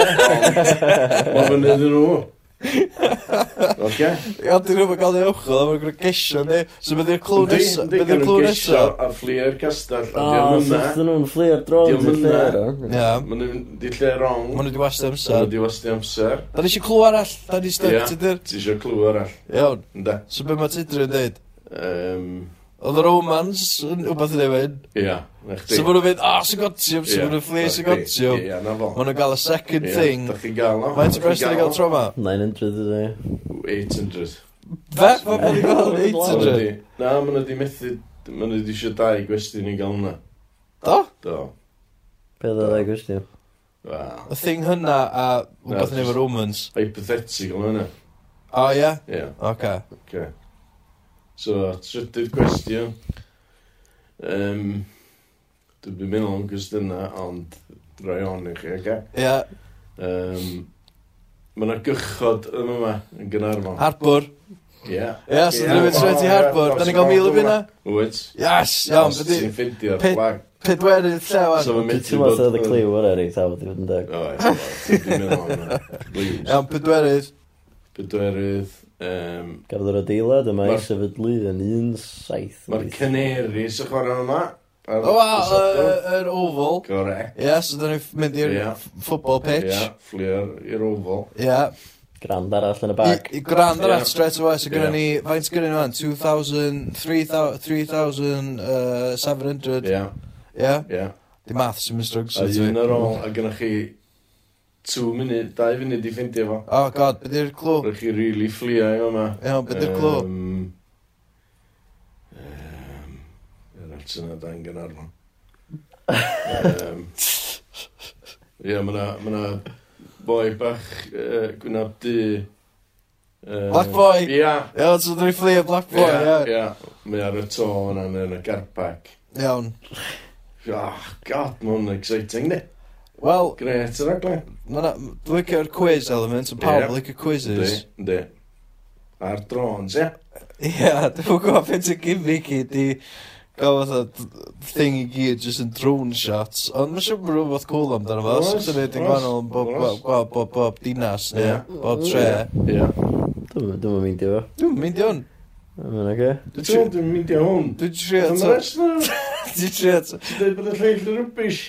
[SPEAKER 6] Ond, Mae fy'n wneud yn nhw. Oce?
[SPEAKER 2] Ia, dyn nhw'n cael ei ymchwil am y gwrdd gesio, ni. So, byddi'r clw
[SPEAKER 6] Yndi,
[SPEAKER 2] nesa,
[SPEAKER 6] yndi,
[SPEAKER 2] byddi'r
[SPEAKER 6] gawn
[SPEAKER 2] clw
[SPEAKER 6] nhw gesio
[SPEAKER 2] nesa.
[SPEAKER 6] A fflio'r castell, a
[SPEAKER 1] Ah,
[SPEAKER 6] diolch
[SPEAKER 1] so
[SPEAKER 6] hwnna.
[SPEAKER 1] ddyn nhw'n fflio'r drons
[SPEAKER 6] Diom
[SPEAKER 1] yn
[SPEAKER 6] hwnna.
[SPEAKER 1] lle, do?
[SPEAKER 2] Ia,
[SPEAKER 6] Mae nhw'n di lle
[SPEAKER 2] maen
[SPEAKER 6] wrong.
[SPEAKER 2] nhw wedi wastio
[SPEAKER 6] Mae
[SPEAKER 2] amser.
[SPEAKER 6] nhw di wasti amser.
[SPEAKER 2] Da ni eisiau clw arall, da ni
[SPEAKER 6] Ia.
[SPEAKER 2] stuck tydyr.
[SPEAKER 6] Ti eisiau clw arall,
[SPEAKER 2] Iawn,
[SPEAKER 6] ynda?
[SPEAKER 2] so be mae Tudor yn dweud?
[SPEAKER 6] Um,
[SPEAKER 2] Oedd y romans yn wbeth yn ei fynd.
[SPEAKER 6] ia, na chdi.
[SPEAKER 2] So maen nhw'n mynd, ah, segontiwm, so
[SPEAKER 6] Ie,
[SPEAKER 2] maen nhw'n fflio
[SPEAKER 6] na chdi.
[SPEAKER 2] segontiwm.
[SPEAKER 6] Ie, na fo.
[SPEAKER 2] Maen nhw'n cael y second
[SPEAKER 6] Ie,
[SPEAKER 2] thing.
[SPEAKER 6] dach chi'n gael o.
[SPEAKER 2] Mae'n ti'n bresd yn cael tro yma.
[SPEAKER 1] 900 ydy.
[SPEAKER 6] 800.
[SPEAKER 2] Fe, mae bod i gael
[SPEAKER 6] Ma' nhw
[SPEAKER 2] 800.
[SPEAKER 6] di- Na, maen nhw di methu, maen nhw di eisiau dau gwestiwn i gael hwnna.
[SPEAKER 2] Do?
[SPEAKER 6] Do.
[SPEAKER 1] Be ddod o'r gwestiwn?
[SPEAKER 6] Wel,
[SPEAKER 2] Y thing hynna a
[SPEAKER 6] Na,
[SPEAKER 2] wbeth yn ei fynd romans.
[SPEAKER 6] hypothetical hwnna.
[SPEAKER 2] O, ie?
[SPEAKER 6] Ie.
[SPEAKER 2] Oce.
[SPEAKER 6] Okay. So, trydydd cwestiwn. Um, Dwi'n byd mynd o'n gwestiynau, ond rai on i chi, oce?
[SPEAKER 2] Ie,
[SPEAKER 6] Um, Mae yna gychod yn yma, yn Gynarfon.
[SPEAKER 2] harbwr.
[SPEAKER 6] Ie.
[SPEAKER 2] Ie, so dyn ni'n mynd straight i harbwr. Da ni'n cael mil o bunna.
[SPEAKER 6] Wyt.
[SPEAKER 2] Yes, iawn,
[SPEAKER 6] Os
[SPEAKER 2] byddi.
[SPEAKER 6] ti'n ffeindio'r
[SPEAKER 2] Peth-
[SPEAKER 6] flag.
[SPEAKER 2] Pedwerydd lle wan.
[SPEAKER 6] So mae'n mynd i
[SPEAKER 1] Ti'n meddwl oedd y cliw ar eri, ta, wedi bod yn deg.
[SPEAKER 6] O, ie, ti'n mynd o'n yna. Blues.
[SPEAKER 2] Iawn, pedwerydd.
[SPEAKER 6] Pedwerydd. Um,
[SPEAKER 1] Gafodd yr adeilad yma i
[SPEAKER 6] Ma'r-
[SPEAKER 1] sefydlu yn 17.
[SPEAKER 6] Mae'r cyneri sy'n chwarae yma. ar
[SPEAKER 2] O, wow,
[SPEAKER 6] Dysadwrn.
[SPEAKER 2] yr oval.
[SPEAKER 6] Correct.
[SPEAKER 2] Ie, so dyn ni'n mynd i'r
[SPEAKER 6] Ie.
[SPEAKER 2] football pitch.
[SPEAKER 6] Ie, fflio'r i'r ofal.
[SPEAKER 2] Ie.
[SPEAKER 1] Grand arall yn y
[SPEAKER 2] I
[SPEAKER 1] bag.
[SPEAKER 2] i Grand ar
[SPEAKER 6] Ie.
[SPEAKER 2] at straight away, so gyda
[SPEAKER 6] Ie.
[SPEAKER 2] ni, faint gyda ni fan? 2,000, 3,000, 3,700.
[SPEAKER 6] Ie,
[SPEAKER 2] Ie.
[SPEAKER 6] ie.
[SPEAKER 2] Di math sy'n mynd strwgs.
[SPEAKER 6] A un ar ôl, a gynnwch chi 2 munud, 2 funud i ffeindio fo.
[SPEAKER 2] O, god, beth yw'r clw?
[SPEAKER 6] Rwy'n chi really fflio i yma.
[SPEAKER 2] Iawn, beth yw'r clw?
[SPEAKER 6] Yr alt sy'n adain Gynarfon. Yym, Ie, mae'na boi bach yy, gwynab du. yy,
[SPEAKER 2] Black boy.
[SPEAKER 6] Ie.
[SPEAKER 2] Iawn, so dyn ni'n fflio Black Boy,
[SPEAKER 6] Ie,
[SPEAKER 2] ie.
[SPEAKER 6] ie. Mae ar y to yna, mae yn y garbac.
[SPEAKER 2] Iawn.
[SPEAKER 6] Oh, god, mae hwn yn exciting, ni.
[SPEAKER 2] Wel,
[SPEAKER 6] Gret, yr aglen.
[SPEAKER 2] Ma' na- m- Dwi'n licio'r quiz element, yn
[SPEAKER 6] Ie.
[SPEAKER 2] pawb licio
[SPEAKER 6] Di,
[SPEAKER 2] quizzes.
[SPEAKER 6] di. Ar drones, ie.
[SPEAKER 2] Ie, dwi'n gwybod beth y gimmick i di gael fatha d- thing i gyd just yn drone shots. Ond mae'n siŵr bod rhywbeth cool amdano fo.
[SPEAKER 6] Oes,
[SPEAKER 2] Os ydyn ni'n
[SPEAKER 6] oes,
[SPEAKER 2] gwahanol yn bob,
[SPEAKER 6] oes.
[SPEAKER 2] bob, bob, bob dinas neu
[SPEAKER 6] Ie.
[SPEAKER 2] bob tre.
[SPEAKER 6] Ie.
[SPEAKER 1] Dwi'n dwi'n mynd i fo.
[SPEAKER 2] Dwi'n mynd i hwn.
[SPEAKER 1] Mae'n oce.
[SPEAKER 6] Dwi'n teimlo dwi'n mynd i hwn.
[SPEAKER 2] Dwi'n
[SPEAKER 6] Dwi'n
[SPEAKER 2] trio...
[SPEAKER 6] rest na.
[SPEAKER 2] Dwi'n trio...
[SPEAKER 6] Ti'n dweud bod y lleill yn rybys.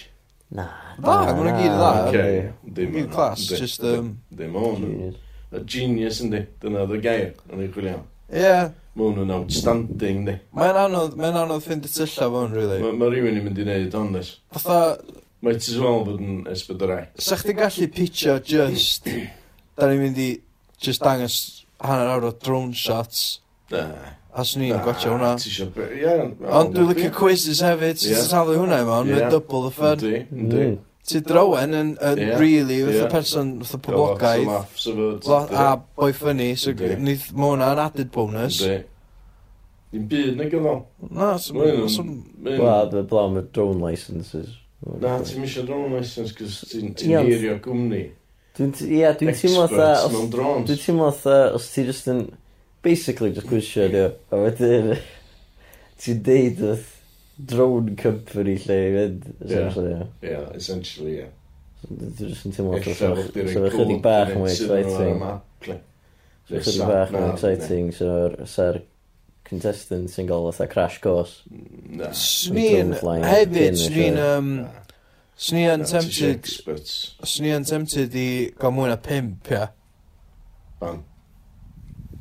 [SPEAKER 1] Na.
[SPEAKER 2] Na, ma' nhw gyd yn dda.
[SPEAKER 1] na,
[SPEAKER 6] Oce.
[SPEAKER 1] yndi.
[SPEAKER 6] Dim
[SPEAKER 2] Dwi'n clas,
[SPEAKER 6] yndi.
[SPEAKER 2] just... um,
[SPEAKER 6] Dim o'n.
[SPEAKER 1] Genius.
[SPEAKER 6] A genius yndi. Dyna oedd y gair. Yn ei chwilio.
[SPEAKER 2] Ie.
[SPEAKER 6] Mae hwnnw'n outstanding yndi.
[SPEAKER 2] Mae'n anodd, mae'n anodd ffind y tylla fo'n, really.
[SPEAKER 6] Mae ma rhywun yn mynd i wneud hon nes.
[SPEAKER 2] Fatha,
[SPEAKER 6] Mae ti'n sôn bod yn esbydorau.
[SPEAKER 2] sa chdi'n gallu pitio just... Da ni'n mynd i just dangos hanner awr o drone shots.
[SPEAKER 6] Na.
[SPEAKER 2] A swn i'n gwachio hwnna.
[SPEAKER 6] Ti isio... be- Ie.
[SPEAKER 2] Ond dwi'n licio quizzes hefyd,
[SPEAKER 6] Ie.
[SPEAKER 2] ti'n talu hwnna i mewn,
[SPEAKER 6] Ie.
[SPEAKER 2] mae'n double the fun.
[SPEAKER 6] Yndi. Yndi.
[SPEAKER 1] Mm.
[SPEAKER 2] Ti drowen yn, yn
[SPEAKER 6] Ie.
[SPEAKER 2] really, fath
[SPEAKER 6] Ie.
[SPEAKER 2] o person, fath o
[SPEAKER 6] Gael lot o
[SPEAKER 2] poblogaidd,
[SPEAKER 6] laughs efo-
[SPEAKER 2] lot a boi ffynnu, so
[SPEAKER 6] Yndi.
[SPEAKER 2] nid ma hwnna yn added bonus.
[SPEAKER 6] Yndi. Dim byd na gyfo.
[SPEAKER 2] Na,
[SPEAKER 6] Mae'n...
[SPEAKER 2] sy'n...
[SPEAKER 6] mae'n-
[SPEAKER 1] Wel, dwi'n blaw am y drone licenses.
[SPEAKER 6] Na, ti'n misio drone license, cos ti'n
[SPEAKER 1] Ie,
[SPEAKER 6] ti'n
[SPEAKER 1] ond-
[SPEAKER 6] hirio gwmni.
[SPEAKER 1] Dwi'n t- Ie, dwi'n teimlo
[SPEAKER 6] Experts
[SPEAKER 1] tha... os-
[SPEAKER 6] mewn drones.
[SPEAKER 1] Dwi'n teimlo tha, os ti just yn... Basically, just gwisio, diw. A wedyn... *laughs* Ti'n deud wrth drone company lle i fynd. essentially, ie.
[SPEAKER 6] Ie, essentially, ie.
[SPEAKER 1] Dwi'n just yn teimlo
[SPEAKER 6] Ella
[SPEAKER 1] tha...
[SPEAKER 6] bod chdi'n
[SPEAKER 1] So,
[SPEAKER 6] rhoi
[SPEAKER 1] chydig bach mwy
[SPEAKER 6] sydd yn ar y
[SPEAKER 1] exciting.
[SPEAKER 6] map, le.
[SPEAKER 1] So,
[SPEAKER 6] Neu
[SPEAKER 1] Chydig
[SPEAKER 6] sat
[SPEAKER 1] bach mwy
[SPEAKER 6] nav,
[SPEAKER 1] exciting. So, sa'r contestant sy'n gael fatha crash course.
[SPEAKER 6] neu- Na.
[SPEAKER 2] Swn
[SPEAKER 1] Dwi'n
[SPEAKER 2] i'n
[SPEAKER 1] drone flying
[SPEAKER 2] hefyd,
[SPEAKER 1] cyn
[SPEAKER 2] swn
[SPEAKER 1] y
[SPEAKER 2] i'n...
[SPEAKER 1] lle.
[SPEAKER 2] um, Swn i'n
[SPEAKER 6] Na, ti isio
[SPEAKER 2] tempted...
[SPEAKER 6] experts.
[SPEAKER 2] Swn i'n tempted i gael mwy na pimp, ia.
[SPEAKER 6] Bang.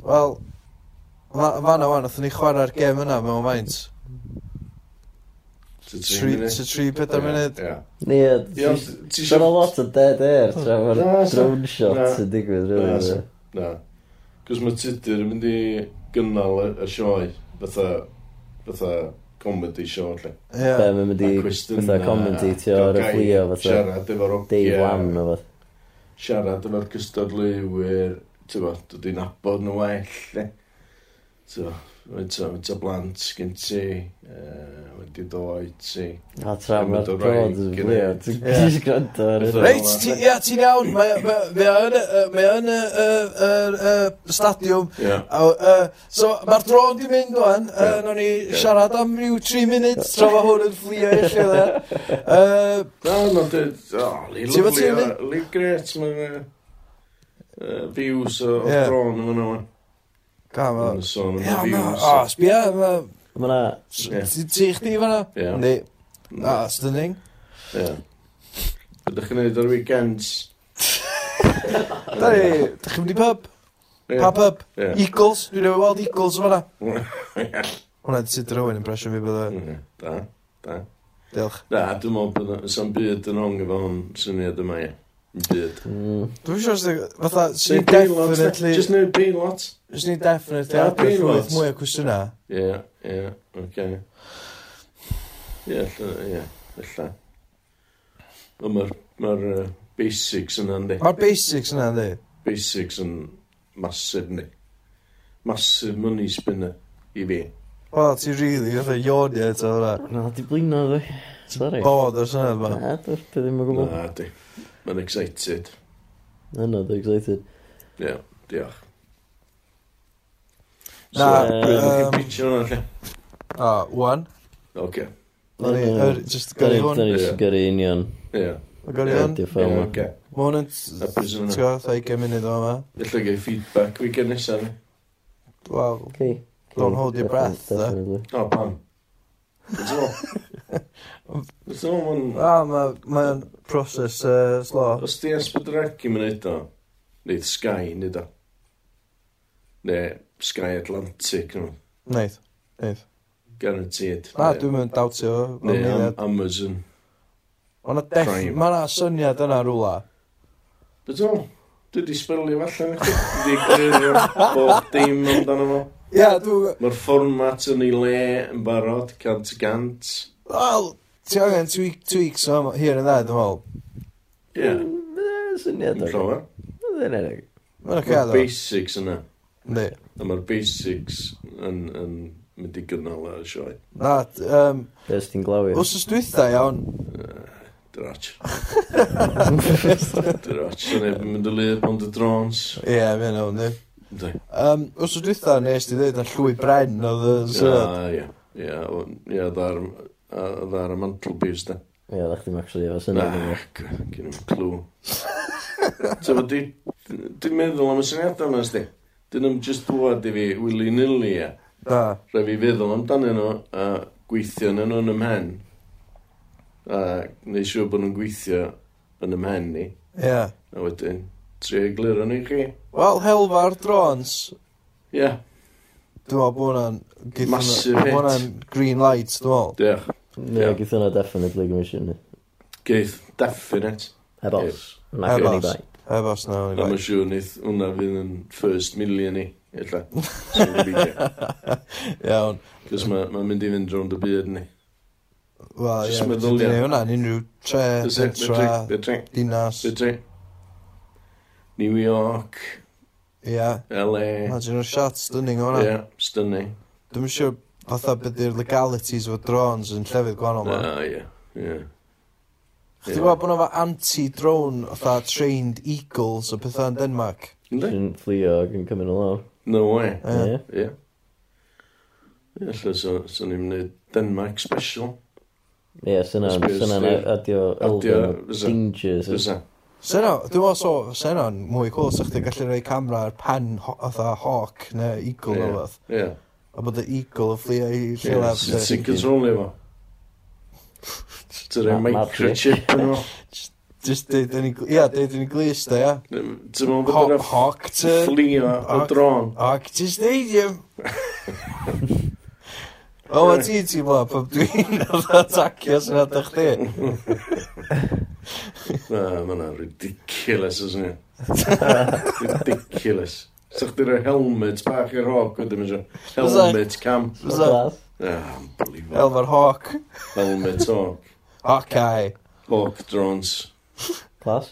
[SPEAKER 2] Wel, fa- fanna wan, othyn ni chwarae'r gem yna mewn maint.
[SPEAKER 6] To
[SPEAKER 2] Tri, to tri, pedair munud.
[SPEAKER 6] Ie.
[SPEAKER 1] Ie,
[SPEAKER 6] Ie,
[SPEAKER 1] ti-
[SPEAKER 6] ond ti
[SPEAKER 1] Dwi'n a
[SPEAKER 6] isio...
[SPEAKER 1] lot o dead air tra mae'r
[SPEAKER 6] Na, sa-
[SPEAKER 1] drone shots
[SPEAKER 6] na.
[SPEAKER 1] yn digwydd
[SPEAKER 6] Na,
[SPEAKER 1] rhywun.
[SPEAKER 6] sa- Na. Cos mae tudur yn mynd i gynnal y- y sioe, fatha... fatha comedy show, lle.
[SPEAKER 2] Ie.
[SPEAKER 1] Be, mae'n mynd i
[SPEAKER 6] A cwestiynau,
[SPEAKER 1] fatha commentatio ar y
[SPEAKER 6] gael
[SPEAKER 1] fflio
[SPEAKER 6] gair,
[SPEAKER 1] fatha
[SPEAKER 6] Siarad efo'r
[SPEAKER 1] Dave
[SPEAKER 6] ogia,
[SPEAKER 1] Wan o fath.
[SPEAKER 6] Siarad efo'r cystadleuwyr, ti'n bod, dwi'n nabod nhw well, ne? Ti'n bod, mae'n ta blant gen ti, yy, wedi ddoed ti.
[SPEAKER 1] A tra
[SPEAKER 6] Am y
[SPEAKER 1] mae'r
[SPEAKER 6] dy
[SPEAKER 1] broad yn
[SPEAKER 6] rai,
[SPEAKER 1] fflio,
[SPEAKER 6] gyda-
[SPEAKER 1] ti'n
[SPEAKER 2] Ie.
[SPEAKER 1] gys gwrando ar
[SPEAKER 6] Fatha-
[SPEAKER 1] hynna.
[SPEAKER 2] Reit, ti- ie, ti'n iawn. Mae mae- mae o yn y- yy, mae o yn y yy, yr, yy, stadiwm.
[SPEAKER 6] Ie.
[SPEAKER 2] A, yy, So, mae'r dron di mynd o'n,
[SPEAKER 6] Ie.
[SPEAKER 2] nawn ni siarad am ryw 3 munud, tra fo hwn yn fflio i'r lle dda.
[SPEAKER 6] *laughs*
[SPEAKER 2] Yy,
[SPEAKER 6] Na, na, dweud, o, li
[SPEAKER 2] Ti'n bod
[SPEAKER 6] lyfli,
[SPEAKER 2] ti'n mynd?
[SPEAKER 6] o, li gret, mae'n views o o
[SPEAKER 2] Ie.
[SPEAKER 6] dron yn hwnna, wan.
[SPEAKER 2] Ga, ma-
[SPEAKER 6] Yn y sôn
[SPEAKER 2] Ie,
[SPEAKER 6] am y
[SPEAKER 2] ma-
[SPEAKER 6] views.
[SPEAKER 2] o, sbia, ma-
[SPEAKER 1] Mae'na,
[SPEAKER 6] Ie.
[SPEAKER 2] ti ti chdi fan'na?
[SPEAKER 6] Ie.
[SPEAKER 2] Yndi. Ah, stunning.
[SPEAKER 6] Ie. Ydych chi'n neud ar weekends?
[SPEAKER 2] Da ni, dych chi'n mynd i pub?
[SPEAKER 6] Ie.
[SPEAKER 2] Pa pub?
[SPEAKER 6] Ie.
[SPEAKER 2] Eagles, dwi'n newydd weld Eagles yn fan'na.
[SPEAKER 6] Ie. *laughs*
[SPEAKER 2] Hwna di sut rhywun impression fi bydde.
[SPEAKER 6] Ie, Da, da.
[SPEAKER 2] Diolch.
[SPEAKER 6] Na, dwi'n meddwl bod yna- sa'n byd yn ong efo hwn syniad yma i. Byd.
[SPEAKER 1] mm,
[SPEAKER 2] Dwi'n siŵr os dwi'n... Fatha,
[SPEAKER 6] Neu
[SPEAKER 2] sy'n
[SPEAKER 6] peanut,
[SPEAKER 2] definitely...
[SPEAKER 6] Just neu peanut.
[SPEAKER 2] Os ni'n definitely
[SPEAKER 6] Ie,
[SPEAKER 2] adrodd
[SPEAKER 6] dwi'n
[SPEAKER 2] llwyth
[SPEAKER 6] gwybod.
[SPEAKER 2] mwy o cwestiynau.
[SPEAKER 6] Ie, ie, oce. Ie, ella- ie, illa. Ond mae'r ma'r, yy, basics yna, yndi.
[SPEAKER 2] Mae'r basics yna, ynddi?
[SPEAKER 6] Basics yn masif, yndi. Masif money spinner i fi.
[SPEAKER 2] Wel, ti rili, fatha ionia eto fyna.
[SPEAKER 1] na, di blino dwi. Sorry.
[SPEAKER 2] Bod o'r syniad yma.
[SPEAKER 1] Na, dwi'n ddim yn
[SPEAKER 2] Mm-hmm.
[SPEAKER 1] gwybod.
[SPEAKER 6] Na, di. Mae'n excited.
[SPEAKER 1] Yna, dwi'n excited.
[SPEAKER 6] Ie, diolch.
[SPEAKER 2] Na,
[SPEAKER 6] So, dwi'n
[SPEAKER 2] yym,
[SPEAKER 6] pitch hwnna, lle.
[SPEAKER 2] O, wan.
[SPEAKER 6] Oce,
[SPEAKER 2] Lori,
[SPEAKER 1] Ie.
[SPEAKER 2] yr- jyst gyrru hwn.
[SPEAKER 1] Da ni jyst
[SPEAKER 6] Ie.
[SPEAKER 1] yn gyrru union.
[SPEAKER 6] ie.
[SPEAKER 2] Gyrru hwn.
[SPEAKER 1] Diolch
[SPEAKER 6] Ie,
[SPEAKER 1] fel yma.
[SPEAKER 6] oce.
[SPEAKER 2] Mae hwn yn...
[SPEAKER 6] A pwy sy'n
[SPEAKER 2] Ti'n
[SPEAKER 6] hwnna?
[SPEAKER 2] gwybod, fatha 20 munud o yma.
[SPEAKER 6] Ella gael feedback weekend nesa, ni.
[SPEAKER 2] Wel,
[SPEAKER 1] Okay.
[SPEAKER 2] Don't hold your breath, eh?
[SPEAKER 1] Definitely.
[SPEAKER 6] O, pam. Dwi'n teimlo. Dwi'n teimlo ma'n-
[SPEAKER 2] a mae'n proses yy, slo.
[SPEAKER 6] Os di Esbydrec i'n mynd o, neu Sky nid o. Neu Sky Atlantic, nhw,
[SPEAKER 2] Neith, neith.
[SPEAKER 6] guaranteed.
[SPEAKER 2] Na,
[SPEAKER 6] Neu-
[SPEAKER 2] dwi'n mynd dawtio fo. ma'n
[SPEAKER 6] Neu Am
[SPEAKER 2] mynd.
[SPEAKER 6] Amazon.
[SPEAKER 2] Ond y deff,
[SPEAKER 6] Prime.
[SPEAKER 2] mae yna syniad yna rwla.
[SPEAKER 6] Dwi'n teimlo, dwi di sbelio allan i chi. Dwi di gyrrio bob dim amdano fo.
[SPEAKER 2] Ia, dwi'n...
[SPEAKER 6] Mae'r fformat yn ei le yn barod, cant y gant.
[SPEAKER 2] Wel, ti angen tweak- tweaks o yma- here and there, dwi'n meddwl.
[SPEAKER 6] Ie,
[SPEAKER 1] Ie, Syniad
[SPEAKER 6] yn
[SPEAKER 1] o'r.
[SPEAKER 6] llawer.
[SPEAKER 1] Dwi'n enig.
[SPEAKER 2] Mae'n o'r
[SPEAKER 6] Mae'r
[SPEAKER 2] cael o.
[SPEAKER 6] basics yna.
[SPEAKER 2] Yndi.
[SPEAKER 6] A mae'r basics yn, yn mynd i gynnal ar y sioe.
[SPEAKER 2] Na, um,
[SPEAKER 1] Beth ti'n glawio?
[SPEAKER 2] Os ys dwytha iawn,
[SPEAKER 6] Drach. Drach. Dwi'n mynd i lyd ond y drones.
[SPEAKER 2] ie, yeah, fi'n iawn, ni.
[SPEAKER 6] Ynddi.
[SPEAKER 2] Um, os
[SPEAKER 6] Ah,
[SPEAKER 2] ys dwytha nes ti ddweud na llwy bren oedd y syniad.
[SPEAKER 6] Ie, ie, o- ie, dda'r a oedd ar y mantelpiece da.
[SPEAKER 1] Ie, yeah, ddech chi'n actually efo syniad
[SPEAKER 6] Na,
[SPEAKER 1] yna.
[SPEAKER 6] gen i'n clw. So, fod di- dwi'n meddwl am y syniadau yma, sti. Dyn nhw'n just dwad i fi willy-nilly, ia.
[SPEAKER 2] Da.
[SPEAKER 6] Rhaid fi feddwl amdanyn nhw a gweithio yn nhw'n ymhen. A neu siŵr bod nhw'n gweithio yn ymhen ni.
[SPEAKER 2] Ie. Yeah.
[SPEAKER 6] A wedyn, tri eglur yn i chi.
[SPEAKER 2] Wel, helfa'r drones.
[SPEAKER 6] Ia, yeah,
[SPEAKER 2] Dwi'n meddwl bod hwnna'n... geith hwnna-
[SPEAKER 6] Massive hit.
[SPEAKER 2] Bod hwnna'n green light, dwi'n meddwl.
[SPEAKER 6] diolch.
[SPEAKER 1] Ie,
[SPEAKER 6] Ie.
[SPEAKER 1] gyda hwnna definitely gymysyn ni.
[SPEAKER 6] Geith, definite.
[SPEAKER 1] Heb os. Na,
[SPEAKER 2] Heb
[SPEAKER 1] gyda ni
[SPEAKER 2] os.
[SPEAKER 1] bai.
[SPEAKER 2] Efos na,
[SPEAKER 6] A
[SPEAKER 2] hwn
[SPEAKER 6] mae'n
[SPEAKER 2] i
[SPEAKER 6] siŵr wneud hwnna fydd yn first million i, illa. Sy'n gobeithio.
[SPEAKER 2] bai. Iawn.
[SPEAKER 6] Cos mae'n ma mynd i fynd rownd y byd ni.
[SPEAKER 2] Wel, ie.
[SPEAKER 6] Jyst
[SPEAKER 2] Dwi'n
[SPEAKER 6] meddylia.
[SPEAKER 2] gwneud hwnna'n unrhyw tre,
[SPEAKER 6] That's it,
[SPEAKER 2] pentra,
[SPEAKER 6] Fedri,
[SPEAKER 2] dinas. Ie.
[SPEAKER 6] fedri, fedri. New York, LA,
[SPEAKER 2] Imagine o'r shot stunning o hwnna.
[SPEAKER 6] ie, stunning.
[SPEAKER 2] Dwi'n siŵr fatha beth yw'r legalities o drones yn llefydd gwahanol ma.
[SPEAKER 6] Na, Ah, ie, ie.
[SPEAKER 2] Chdi gwybod bod nhw anti-drone fatha trained eagles o pethau yn Denmark.
[SPEAKER 6] Yndi?
[SPEAKER 1] Sy'n fflio ac yn cymryd nhw lawr.
[SPEAKER 6] No way.
[SPEAKER 2] Ie.
[SPEAKER 1] Ie.
[SPEAKER 6] Ie. Ie, Alla, so, so ni'n mynd Denmark special.
[SPEAKER 1] Ie, syna'n
[SPEAKER 6] Spurs,
[SPEAKER 1] syna
[SPEAKER 6] ie.
[SPEAKER 1] adio
[SPEAKER 6] Adio,
[SPEAKER 1] elfen o
[SPEAKER 6] fysa.
[SPEAKER 1] dangers.
[SPEAKER 6] Fysa.
[SPEAKER 2] Seno, dwi'n meddwl so, seno'n mwy cool, sa'ch chi'n gallu rhoi camera ar pen ho- fatha hawk neu eagle
[SPEAKER 6] Ie.
[SPEAKER 2] o fath.
[SPEAKER 6] Ie.
[SPEAKER 2] A bod y eagle yn fflio i
[SPEAKER 6] Ie,
[SPEAKER 2] llelaf.
[SPEAKER 6] sut Ti'n controlio fo. Ti'n rhoi
[SPEAKER 1] Ma- ma-
[SPEAKER 6] microchip yn fo.
[SPEAKER 2] Just deud yn ei gl- ia, deud yn ei glis da, ia.
[SPEAKER 6] Ti'n mynd bod
[SPEAKER 2] Ho-
[SPEAKER 6] yn
[SPEAKER 2] Hawk to...
[SPEAKER 6] fflio o dron.
[SPEAKER 2] Hawk to stadium. O, ma ti'n ti'n meddwl, pob dwi'n *laughs* oedd atacio sy'n adeg chdi.
[SPEAKER 6] Na, ma' na ridiculous,
[SPEAKER 2] *laughs*
[SPEAKER 6] ysyn ni. Ridiculous. Sa chdi rhoi helmet bach i'r hog wedyn mynd
[SPEAKER 2] Fysa-
[SPEAKER 6] Helmet cam.
[SPEAKER 2] Fysa-
[SPEAKER 6] Ah, unbelievable.
[SPEAKER 2] Elfa'r hawk.
[SPEAKER 6] Helmet hog.
[SPEAKER 2] Hawk eye.
[SPEAKER 6] Hawk drones.
[SPEAKER 1] Clas.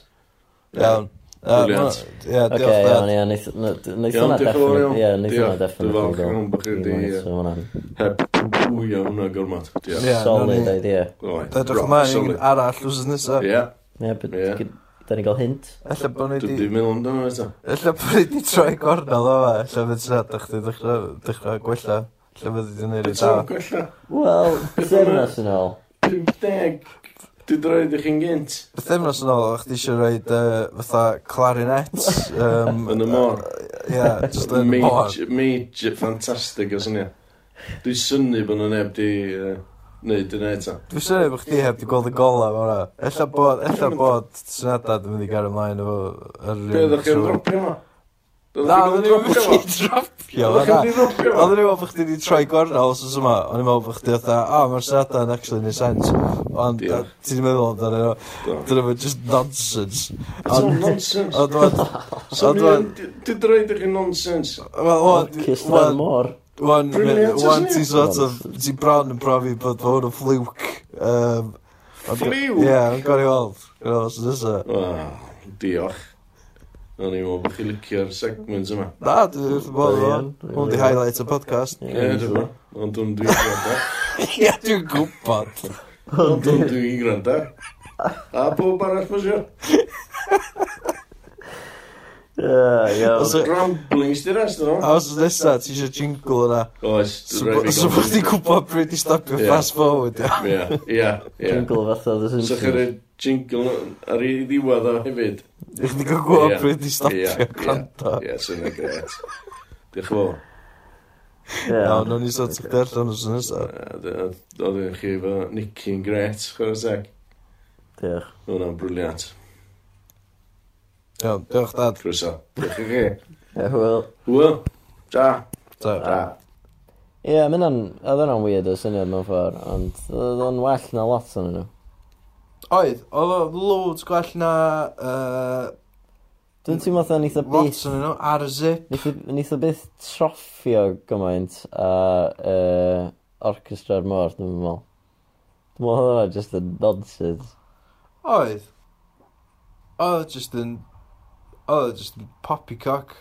[SPEAKER 2] Iawn.
[SPEAKER 6] Brilliant.
[SPEAKER 2] Ie, diolch
[SPEAKER 1] Oce, iawn,
[SPEAKER 2] dad.
[SPEAKER 1] ie, neith neith
[SPEAKER 6] Iawn,
[SPEAKER 1] hwnna
[SPEAKER 6] diolch yn fawr
[SPEAKER 1] definitely.
[SPEAKER 6] iawn.
[SPEAKER 1] Ie, neith hwnna
[SPEAKER 6] Diolch.
[SPEAKER 1] definitely.
[SPEAKER 6] Dwi'n falch iawn bod chi 'di,
[SPEAKER 1] Ie,
[SPEAKER 6] ie.
[SPEAKER 1] so hwnna'n
[SPEAKER 6] Heb pwy o hwnna gormod. Diolch.
[SPEAKER 2] Ie,
[SPEAKER 1] solid
[SPEAKER 2] nawn ni-
[SPEAKER 1] idea.
[SPEAKER 6] Right,
[SPEAKER 2] Edrych
[SPEAKER 6] rock
[SPEAKER 2] ymlaen i
[SPEAKER 6] solid.
[SPEAKER 2] un arall wrth nesaf.
[SPEAKER 6] Ie,
[SPEAKER 1] Ie, but
[SPEAKER 6] Ie.
[SPEAKER 1] da ni gael hint.
[SPEAKER 2] Ella bod ni
[SPEAKER 6] dwi
[SPEAKER 2] wedi...
[SPEAKER 6] di meddwl amdano eto.
[SPEAKER 2] Ella bod ni wedi troi gornel o fa. Ella fydd sy'n adeg chdi dechrau, dechrau gwella. Ella fydd wedi gwneud i
[SPEAKER 6] Eto,
[SPEAKER 2] da.
[SPEAKER 6] gwella.
[SPEAKER 1] Wel, sefnas yn ôl.
[SPEAKER 6] 50. Dwi droed i chi'n gynt.
[SPEAKER 2] Bythefnos yn ôl, o'ch ti eisiau rhoi fatha
[SPEAKER 6] *laughs*
[SPEAKER 2] clarinet. um,
[SPEAKER 6] Yn y môr.
[SPEAKER 2] Ie, just yn y môr.
[SPEAKER 6] Major, major, fantastic o syniad. Dwi synnu bod nhw'n neb di uh, neud yn eto.
[SPEAKER 2] Dwi'n synnu bod chdi heb wedi gweld y gola fel hwnna. Ella bod, ella bod syniadad yn mynd i gael ymlaen efo... yr un
[SPEAKER 6] Mm. Be ydych chi'n
[SPEAKER 2] sŵn.
[SPEAKER 6] dropio ma?
[SPEAKER 2] Na, oedden ni'n
[SPEAKER 6] dropio ma?
[SPEAKER 2] mynd i dropio.
[SPEAKER 6] Oedden
[SPEAKER 2] fan'na.
[SPEAKER 6] ni'n dropio ma?
[SPEAKER 2] Oedden ni'n meddwl bod chdi wedi troi gornel os oes yma. O'n i'n meddwl bod chdi oedd, a, mae'r syniadau yn actually neud sense. Ond
[SPEAKER 6] Ie.
[SPEAKER 2] a, ti ddim meddwl amdano nhw.
[SPEAKER 6] Do.
[SPEAKER 2] Dyna fe just nonsense.
[SPEAKER 6] It's all
[SPEAKER 2] Ond-
[SPEAKER 6] nonsense.
[SPEAKER 2] Ond dwi'n...
[SPEAKER 6] So
[SPEAKER 2] ond
[SPEAKER 6] ni-
[SPEAKER 2] wan-
[SPEAKER 6] d- Dwi droed i chi nonsense.
[SPEAKER 2] Wel,
[SPEAKER 1] Cys dan
[SPEAKER 2] wan...
[SPEAKER 1] mor.
[SPEAKER 2] Wan,
[SPEAKER 6] Brilliant,
[SPEAKER 2] wan
[SPEAKER 6] isn't
[SPEAKER 2] ti
[SPEAKER 6] it?
[SPEAKER 2] sort of... Ti bron yn profi bod fod o'n fluke. Um, ond-
[SPEAKER 6] Fluke?
[SPEAKER 2] Ie, yn gorau weld. Gwneud os oes yma.
[SPEAKER 6] Ah, Diolch. O'n i'n meddwl bod chi licio'r segment yma.
[SPEAKER 2] Na, dwi'n wrth bod o'n...
[SPEAKER 1] Brilliant,
[SPEAKER 2] Hwn di
[SPEAKER 1] brilliant.
[SPEAKER 2] highlight y
[SPEAKER 1] *laughs*
[SPEAKER 2] podcast.
[SPEAKER 6] Ie, dwi'n meddwl. Ond dwi'n dwi'n gwrando.
[SPEAKER 2] Ie, dwi'n gwybod.
[SPEAKER 6] Ond dwi'n dwi'n gwrando. A pob arall, mae'n siŵr.
[SPEAKER 1] Iawn.
[SPEAKER 2] Os y-
[SPEAKER 6] Ramblings di rest, no?
[SPEAKER 2] A os oes nesa, ti eisiau jingle yna.
[SPEAKER 6] Oes,
[SPEAKER 2] So
[SPEAKER 6] dwi'n rhaid i
[SPEAKER 2] bod chdi'n gwybod pryd i stopio
[SPEAKER 6] Ie.
[SPEAKER 2] fast forward, ia.
[SPEAKER 6] Ie, ie, ie.
[SPEAKER 1] Jingle fatha The
[SPEAKER 6] So chi'n
[SPEAKER 1] Simpsons.
[SPEAKER 6] rhaid jingle ar ei ddiwedd o hefyd.
[SPEAKER 2] I chdi gael gwybod
[SPEAKER 6] Ie,
[SPEAKER 2] pryd i
[SPEAKER 6] ie,
[SPEAKER 2] stopio gwrando.
[SPEAKER 6] Ie, sy'n ei gret. Diolch yn fawr.
[SPEAKER 2] Iawn,
[SPEAKER 1] Iawn.
[SPEAKER 2] o'n i sort chdi allan os nesa.
[SPEAKER 6] Yy, d- d- Oedd e'n chi efo Nicky'n gret, chwer o seg.
[SPEAKER 1] Diolch.
[SPEAKER 6] Hwna'n briliant.
[SPEAKER 2] Iawn, diolch dad.
[SPEAKER 6] Croeso. Diolch i chi.
[SPEAKER 1] Ie, wel.
[SPEAKER 6] Hwyl. Ta.
[SPEAKER 2] Ta.
[SPEAKER 6] Ta.
[SPEAKER 1] Ie, yeah, mynd o'n... Oedd hwnna'n weird o syniad mewn ffordd, ond oedd o'n well na lot o'n nhw.
[SPEAKER 2] Oedd, oedd o loads gwell na uh,
[SPEAKER 1] Dwi'n teimlo fatha neitha byth...
[SPEAKER 2] Rots yn nhw, ar y zip.
[SPEAKER 1] neitha- Neitha byth troffio gymaint a uh, orchestra'r môr, dwi'n meddwl. Dwi'n meddwl oedd hwnna just a nonsense.
[SPEAKER 2] Oedd. Oedd o just yn... Oedd o just yn poppycock.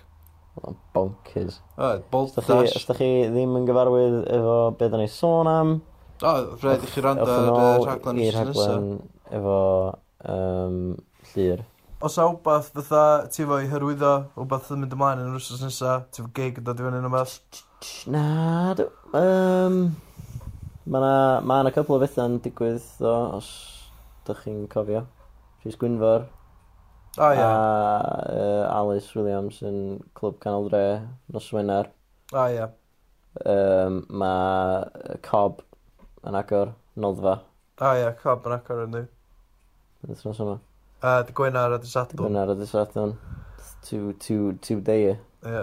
[SPEAKER 1] Oedd o'n bonkers.
[SPEAKER 2] Oedd,
[SPEAKER 1] Os
[SPEAKER 2] bolt
[SPEAKER 1] da chi,
[SPEAKER 2] dash.
[SPEAKER 1] os da chi ddim yn gyfarwydd efo beth o'n ei sôn am,
[SPEAKER 2] Oedd, rhaid i chi rand
[SPEAKER 1] ewch
[SPEAKER 2] ar
[SPEAKER 1] yn
[SPEAKER 2] y
[SPEAKER 1] ôl
[SPEAKER 2] rhaglen
[SPEAKER 1] i'r
[SPEAKER 2] wrth nesaf.
[SPEAKER 1] rhaglen efo um, llir.
[SPEAKER 2] Os a wbath fatha ti fo i hyrwyddo, wbath yn mynd ymlaen yn yr wrthnos nesa, ti fo gig yn dod i fyny yn yma.
[SPEAKER 1] Na, d- yym... Mae na, ma na cwpl o bethau'n digwydd, ddo, os dych chi'n cofio. Rhys Gwynfor
[SPEAKER 2] O
[SPEAKER 1] a
[SPEAKER 2] ie,
[SPEAKER 1] uh, Alice Williams yn Clwb Canol Dre, Nos Wener.
[SPEAKER 2] o ie.
[SPEAKER 1] Um, mae Cob yn agor, Noddfa,
[SPEAKER 2] O ie, cob yn agor yn ni.
[SPEAKER 1] yn wythnos yma.
[SPEAKER 2] A dy gwynar a dy sadl.
[SPEAKER 1] Gwynnar a Dysadon. Two, two, two day.
[SPEAKER 2] Ie.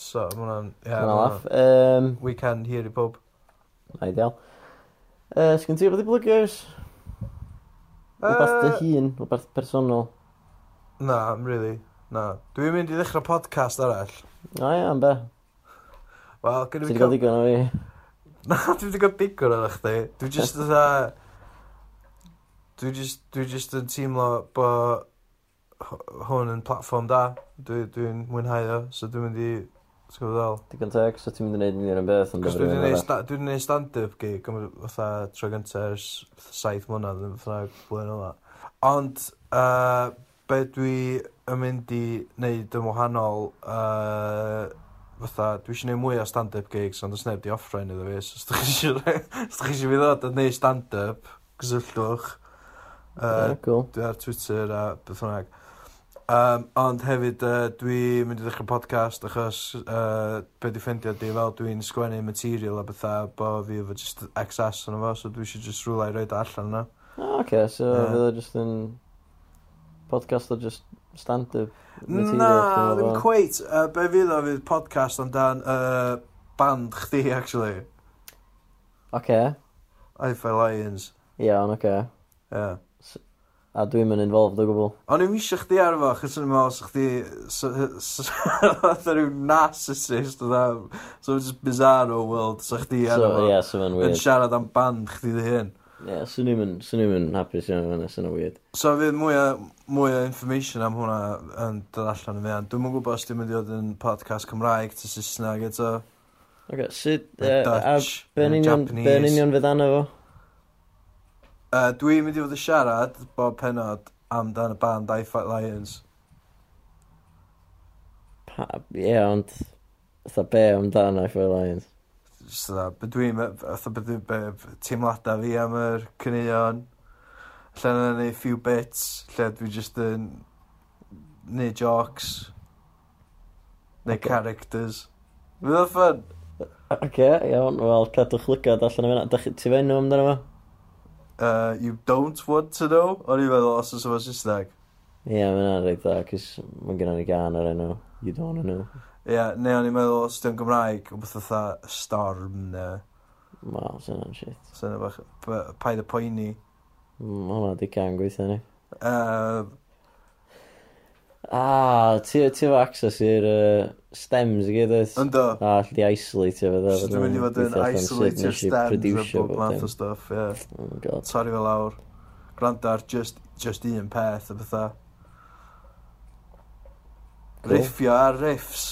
[SPEAKER 2] So, mae hwnna'n... Ie,
[SPEAKER 1] Yeah,
[SPEAKER 2] ma'
[SPEAKER 1] Mae'n laff.
[SPEAKER 2] hwnna'n-
[SPEAKER 1] Um,
[SPEAKER 2] Weekend here i pob.
[SPEAKER 1] ideal. Uh, Sgyn ti wedi blygers? Rwybath dy
[SPEAKER 2] Yy,
[SPEAKER 1] hun, rwybath personol.
[SPEAKER 2] Uh, Na, I'm really. Na. Dwi'n mynd i ddechrau podcast arall.
[SPEAKER 1] O ia, am be?
[SPEAKER 2] Wel,
[SPEAKER 1] Ti
[SPEAKER 2] gyda fi...
[SPEAKER 1] wedi
[SPEAKER 2] cam-
[SPEAKER 1] gael digon o fi?
[SPEAKER 2] *laughs* Na, dwi wedi cael bigwr ar chdi. Dwi just dda... Dwi just, dwi just yn teimlo bo h- hwn yn platform da. Dwi'n dwi dwi'n mwynhau o, so dwi'n mynd i... Ti'n gwybod ddol?
[SPEAKER 1] Digon teg, so ti'n mynd i wneud yn i'r un beth am
[SPEAKER 2] Cos
[SPEAKER 1] gyfer
[SPEAKER 2] dwi
[SPEAKER 1] rhywun
[SPEAKER 2] wedi
[SPEAKER 1] arall.
[SPEAKER 2] gwneud stand-up gig am fatha tro gyntaf ers fatha saith mlynedd yn fatha blwyddyn yma. Ond uh, be dwi yn mynd i wneud yn wahanol uh, fatha dwi eisiau gwneud mwy o stand-up gigs ond os neb di offro un iddo fi so *laughs* os dych chi eisiau os dych chi eisiau fi ddod yn gwneud stand-up gysylltwch uh,
[SPEAKER 1] Ie, Cool.
[SPEAKER 2] dwi ar Twitter a beth bynnag. Um, ond hefyd, uh, dwi mynd i ddechrau podcast achos uh, be di ffendio di fel dwi'n sgwennu material a bethau bo fi efo just excess yn efo, so dwi eisiau just rhywle i roed allan yna.
[SPEAKER 1] O, oce, so
[SPEAKER 2] Ie.
[SPEAKER 1] fydd o just yn... Podcast o just stand-up. material
[SPEAKER 2] Na,
[SPEAKER 1] chdi
[SPEAKER 2] ddim
[SPEAKER 1] fel.
[SPEAKER 2] cweit. Uh, be fydd o fydd podcast amdan uh, band chdi, actually.
[SPEAKER 1] Oce,
[SPEAKER 2] Hi-Fi Lions.
[SPEAKER 1] iawn, oce.
[SPEAKER 2] Yeah.
[SPEAKER 1] A dwi'n mynd involved o gwbl.
[SPEAKER 2] O'n i'n eisiau chdi arfo, chos o'n i'n meddwl sa chdi... *laughs* Oedd rhyw narcissist, oedd So just bizarro world, sa chdi
[SPEAKER 1] So,
[SPEAKER 2] arfo.
[SPEAKER 1] ie, so fe'n
[SPEAKER 2] Yn
[SPEAKER 1] weird.
[SPEAKER 2] siarad am band chdi dy hyn.
[SPEAKER 1] Ie, swn i'n mynd, swn i'n mynd hapus iawn fyna, swn i'n weird.
[SPEAKER 2] So fydd mwy o, mwy o information am hwnna yn dod allan yn fian. Dwi'n mwyn gwybod os dwi'n mynd i fod yn podcast Cymraeg, ta Saesneg eto.
[SPEAKER 1] Oce, sut...
[SPEAKER 2] neu
[SPEAKER 1] yy, A
[SPEAKER 2] Dutch,
[SPEAKER 1] be'n
[SPEAKER 2] neu
[SPEAKER 1] union,
[SPEAKER 2] Japanese.
[SPEAKER 1] be'n union fydd anna fo?
[SPEAKER 2] Yy, Dwi'n mynd i fod yn siarad bob penod amdan y band I Fight Lions.
[SPEAKER 1] Pa- Ie, ond... Fytha be amdano i Foy Lions.
[SPEAKER 2] Jyst yna, be dwi'n me- fatha be dwi'n be teimladau fi am yr cyneuon. Lle yna neu few bits, lle dwi just yn neu jokes, neu
[SPEAKER 1] Ocê.
[SPEAKER 2] characters. Fydd o'n ffyn?
[SPEAKER 1] Oce, iawn, wel, cadwch lygad allan o fyna. Dach chi, ti fe'n nhw amdano fo?
[SPEAKER 2] Uh, you don't want to know? O'n i'n meddwl os oes efo Saesneg.
[SPEAKER 1] Ie, yeah, mae'n rhaid dda, cys mae gennym ni gan ar enw. You don't know.
[SPEAKER 2] Ie, yeah, neu o'n i'n meddwl os dwi'n Gymraeg, o beth fatha storm neu
[SPEAKER 1] Wel, sy'n o'n shit.
[SPEAKER 2] sy'n efo p- paid y poeni.
[SPEAKER 1] Mae hwnna di can gweithio ni.
[SPEAKER 2] Uh,
[SPEAKER 1] Ah, ti ti efo access i'r uh, stems i gyd oes?
[SPEAKER 2] ynddo,
[SPEAKER 1] A, all di isolate efo dda.
[SPEAKER 2] so dwi'n mynd i fod yn isolate your stems a bob math o stuff, ie. Yeah.
[SPEAKER 1] Oh my god.
[SPEAKER 2] Torri fel lawr. Gwrando ar just, just un peth a bethau.
[SPEAKER 1] Cool.
[SPEAKER 2] Riffio ar riffs.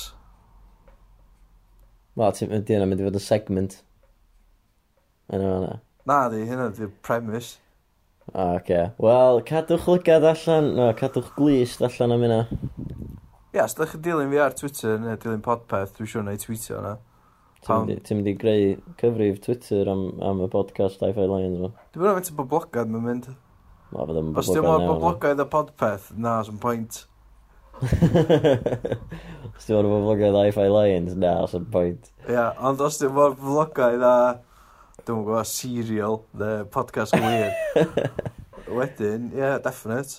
[SPEAKER 1] Wel, ti'n mynd i mynd i fod yn segment. Yna fanna.
[SPEAKER 2] Na di, hynna di'r premise.
[SPEAKER 1] O, oce. Wel, cadwch lygad allan, no, cadwch glist allan am hynna.
[SPEAKER 2] Ie, yeah, os ydych chi'n dilyn fi ar Twitter neu dilyn podpeth, dwi'n siŵr na i tweetio yna.
[SPEAKER 1] Ti'n mynd i- ti'n mynd i greu cyfrif Twitter am, am y podcast Hi-Fi Lions fo.
[SPEAKER 2] Dwi'n meddwl faint o boblogaidd mae'n mynd.
[SPEAKER 1] Wel, fydd o'n
[SPEAKER 2] Os dwi'n meddwl
[SPEAKER 1] boblogaidd
[SPEAKER 2] boblogaidd y podpeth, na, sy'n pwynt.
[SPEAKER 1] iawn, fo. *laughs* Os ti'n mynd boblogaidd Hi-Fi Lions, na, os yn pwynt.
[SPEAKER 2] Ie, yeah, ond os dwi'n meddwl boblogaidd a, dwi'n gwybod, serial, neu podcast gwir.
[SPEAKER 1] *laughs*
[SPEAKER 2] Wedyn, ie, yeah, definite.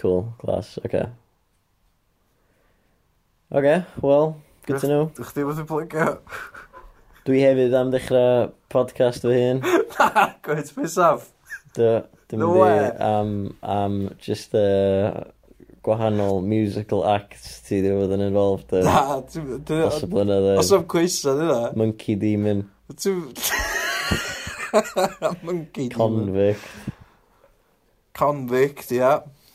[SPEAKER 1] Cool, class, oce. Okay. Oce, okay, wel, good to know.
[SPEAKER 2] Dwi'n chdi bod yn blogio.
[SPEAKER 1] Dwi hefyd am ddechrau podcast fy hun.
[SPEAKER 2] Gwyd, mis af.
[SPEAKER 1] Dy- Dim
[SPEAKER 2] No
[SPEAKER 1] di
[SPEAKER 2] way.
[SPEAKER 1] am, am just uh, gwahanol musical acts ti ddim bod yn involved yn
[SPEAKER 2] Na, dwi'n... dwi'n-
[SPEAKER 1] dros y blynyddoedd.
[SPEAKER 2] Os am cwesa, dwi'n na.
[SPEAKER 1] Monkey Demon,
[SPEAKER 2] Ti'n... *laughs* Monkey demon.
[SPEAKER 1] Convict,
[SPEAKER 2] Convict, ia.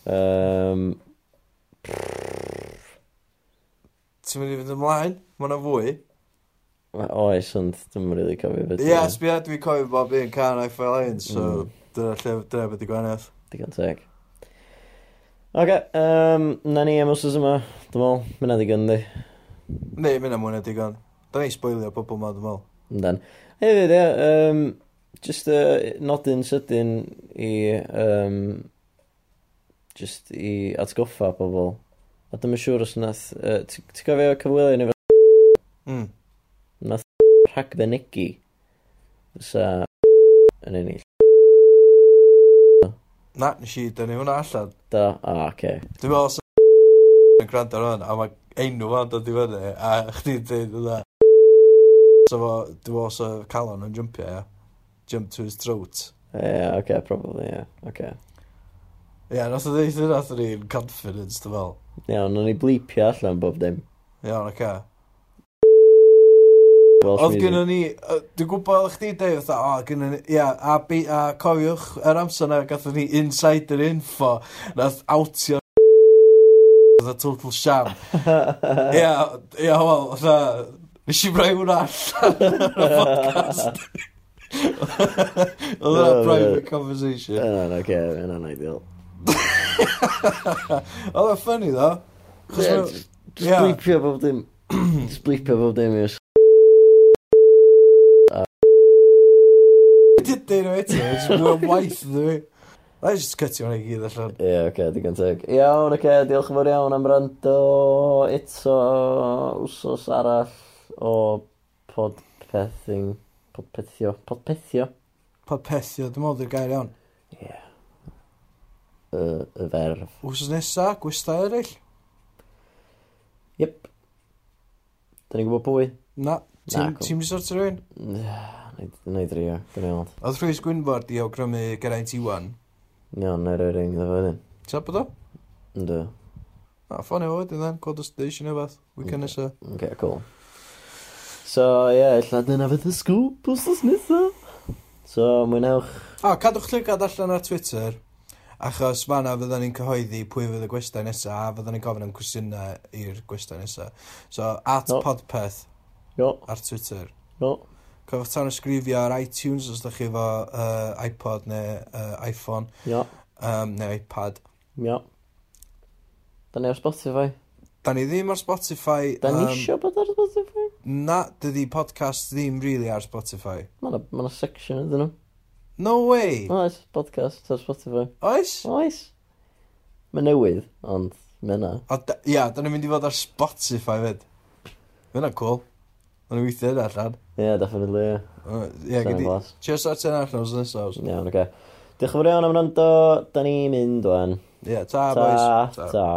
[SPEAKER 1] um,
[SPEAKER 2] Ti'n mynd i fynd ymlaen? Mae yna fwy.
[SPEAKER 1] oes, ond dwi'n rili really cofio beth.
[SPEAKER 2] Ie, yeah, sbia, dwi'n cofio bob un can I fell in, so
[SPEAKER 1] e? Mm.
[SPEAKER 2] dyna lle dyna beth i gwanaeth.
[SPEAKER 1] Digon teg. Oce, um, na ni am wsos yma, dwi'n meddwl, mynd digon di.
[SPEAKER 2] Neu, mynd am hwnna digon. Da ni'n spoilio pobl ma, dwi'n meddwl.
[SPEAKER 1] Yndan. Hefyd, ie, um, Just uh, nodyn sydyn i... Um, just i atgoffa pobl. A dyma siŵr os nath... Uh, ti- Ti'n gofio cyfwylio ni
[SPEAKER 2] Mm.
[SPEAKER 1] Nath rhagfenegu fysa yn ennill.
[SPEAKER 2] Na, nes i dynnu hwnna allan.
[SPEAKER 1] Da, a, ah, oce.
[SPEAKER 2] Dwi'n meddwl os yn gwrando ar hwn, a mae enw fan dod i fyny, a chdi'n dweud hwnna. So fo, dwi'n meddwl os y calon yn jumpio, ia. Jump to his throat.
[SPEAKER 1] Ie, oce, probably, ie. Oce.
[SPEAKER 2] Ie, yeah, nath o ddeith hwnna athyn ni'n confidence, dwi'n meddwl.
[SPEAKER 1] Iawn, o'n i blipio allan bob dim.
[SPEAKER 2] Iawn, oce.
[SPEAKER 1] Welsh
[SPEAKER 2] Oedd
[SPEAKER 1] music.
[SPEAKER 2] gynnu ni, yy, dwi'n gwybod oedd chdi dweud, fatha, o, gynnu ni, ia, a, bi, a cofiwch, yr amser na, gatho ni insider info, nath outio oedd y total sham. Ia, ia, wel, fatha, nes i brau hwnna allan yn y podcast. Oedd hwnna
[SPEAKER 1] No,
[SPEAKER 2] private
[SPEAKER 1] no.
[SPEAKER 2] conversation.
[SPEAKER 1] Yna'n oce, yna'n ideal.
[SPEAKER 2] Oedd hwnna funny, ddo. Chos
[SPEAKER 1] Ie,
[SPEAKER 2] ma-
[SPEAKER 1] Just
[SPEAKER 2] Ie.
[SPEAKER 1] blipio bob dim. *clears throat* Just blipio bob dim i'r...
[SPEAKER 2] Did they know it? It's more waith, dwi. I just cut you on i gyd allan.
[SPEAKER 1] Ie, oce, digon teg. Iawn, oce, diolch yn fawr iawn am rando eto wsos arall o podpething. Podpethio. Podpethio.
[SPEAKER 2] Podpethio, dwi'n meddwl, dwi'n gair iawn.
[SPEAKER 1] Y, y ferf.
[SPEAKER 2] Wsos nesa, gwestau eraill?
[SPEAKER 1] Yep. Da ni'n gwybod pwy?
[SPEAKER 2] Na, ti'n
[SPEAKER 1] cw-
[SPEAKER 2] ti'n mynd i sortio rhywun?
[SPEAKER 1] Na i drio, dwi'n iawn.
[SPEAKER 2] Oedd Rhys Gwynford i awgrymu Geraint Iwan.
[SPEAKER 1] Iawn, na i roi ring dda fydyn.
[SPEAKER 2] Ti'n bod o?
[SPEAKER 1] Ynddo.
[SPEAKER 2] Na, ffon efo wedyn then, cold station neu beth, weekend nesa.
[SPEAKER 1] Oce, cool. So, ie, yeah, illa dyna fydd y sgwp wsos nesa. So, mwynewch.
[SPEAKER 2] A, cadwch llygad allan ar Twitter, achos fanna fyddan ni'n cyhoeddi pwy fydd y gwestau nesa, a fyddan ni'n gofyn am cwestiynau i'r gwestau nesa. So, at
[SPEAKER 1] No.
[SPEAKER 2] podpeth
[SPEAKER 1] Yo,
[SPEAKER 2] ar Twitter.
[SPEAKER 1] yo.
[SPEAKER 2] Cofwch tan ysgrifio ar iTunes os ydych chi efo uh, iPod neu uh, iPhone
[SPEAKER 1] Ia,
[SPEAKER 2] um, neu iPad.
[SPEAKER 1] ia. Da ni ar Spotify.
[SPEAKER 2] Da ni ddim ar Spotify.
[SPEAKER 1] Da ni
[SPEAKER 2] yym,
[SPEAKER 1] isio bod ar Spotify?
[SPEAKER 2] Na, dydy podcast ddim really ar Spotify.
[SPEAKER 1] Mae na, ma na section ydyn nhw.
[SPEAKER 2] No way!
[SPEAKER 1] Oes, podcast ar Spotify.
[SPEAKER 2] Oes?
[SPEAKER 1] Oes. Mae newydd, ond mae na.
[SPEAKER 2] O, da- Ia, da ni'n mynd i fod ar Spotify fyd. Mae hwnna'n cool. Mae'n weithio hynna allan.
[SPEAKER 1] Ie, yeah, definitely. ie.
[SPEAKER 2] Uh, Ia,
[SPEAKER 1] Sound
[SPEAKER 2] gyda...
[SPEAKER 1] class.
[SPEAKER 2] Cheers ar ten allan os nesaf.
[SPEAKER 1] Iawn, oce. Diolch yn fawr iawn am rando. Da ni'n mynd, wan.
[SPEAKER 2] Ia, ta,
[SPEAKER 1] Ta,
[SPEAKER 2] boys.
[SPEAKER 1] ta.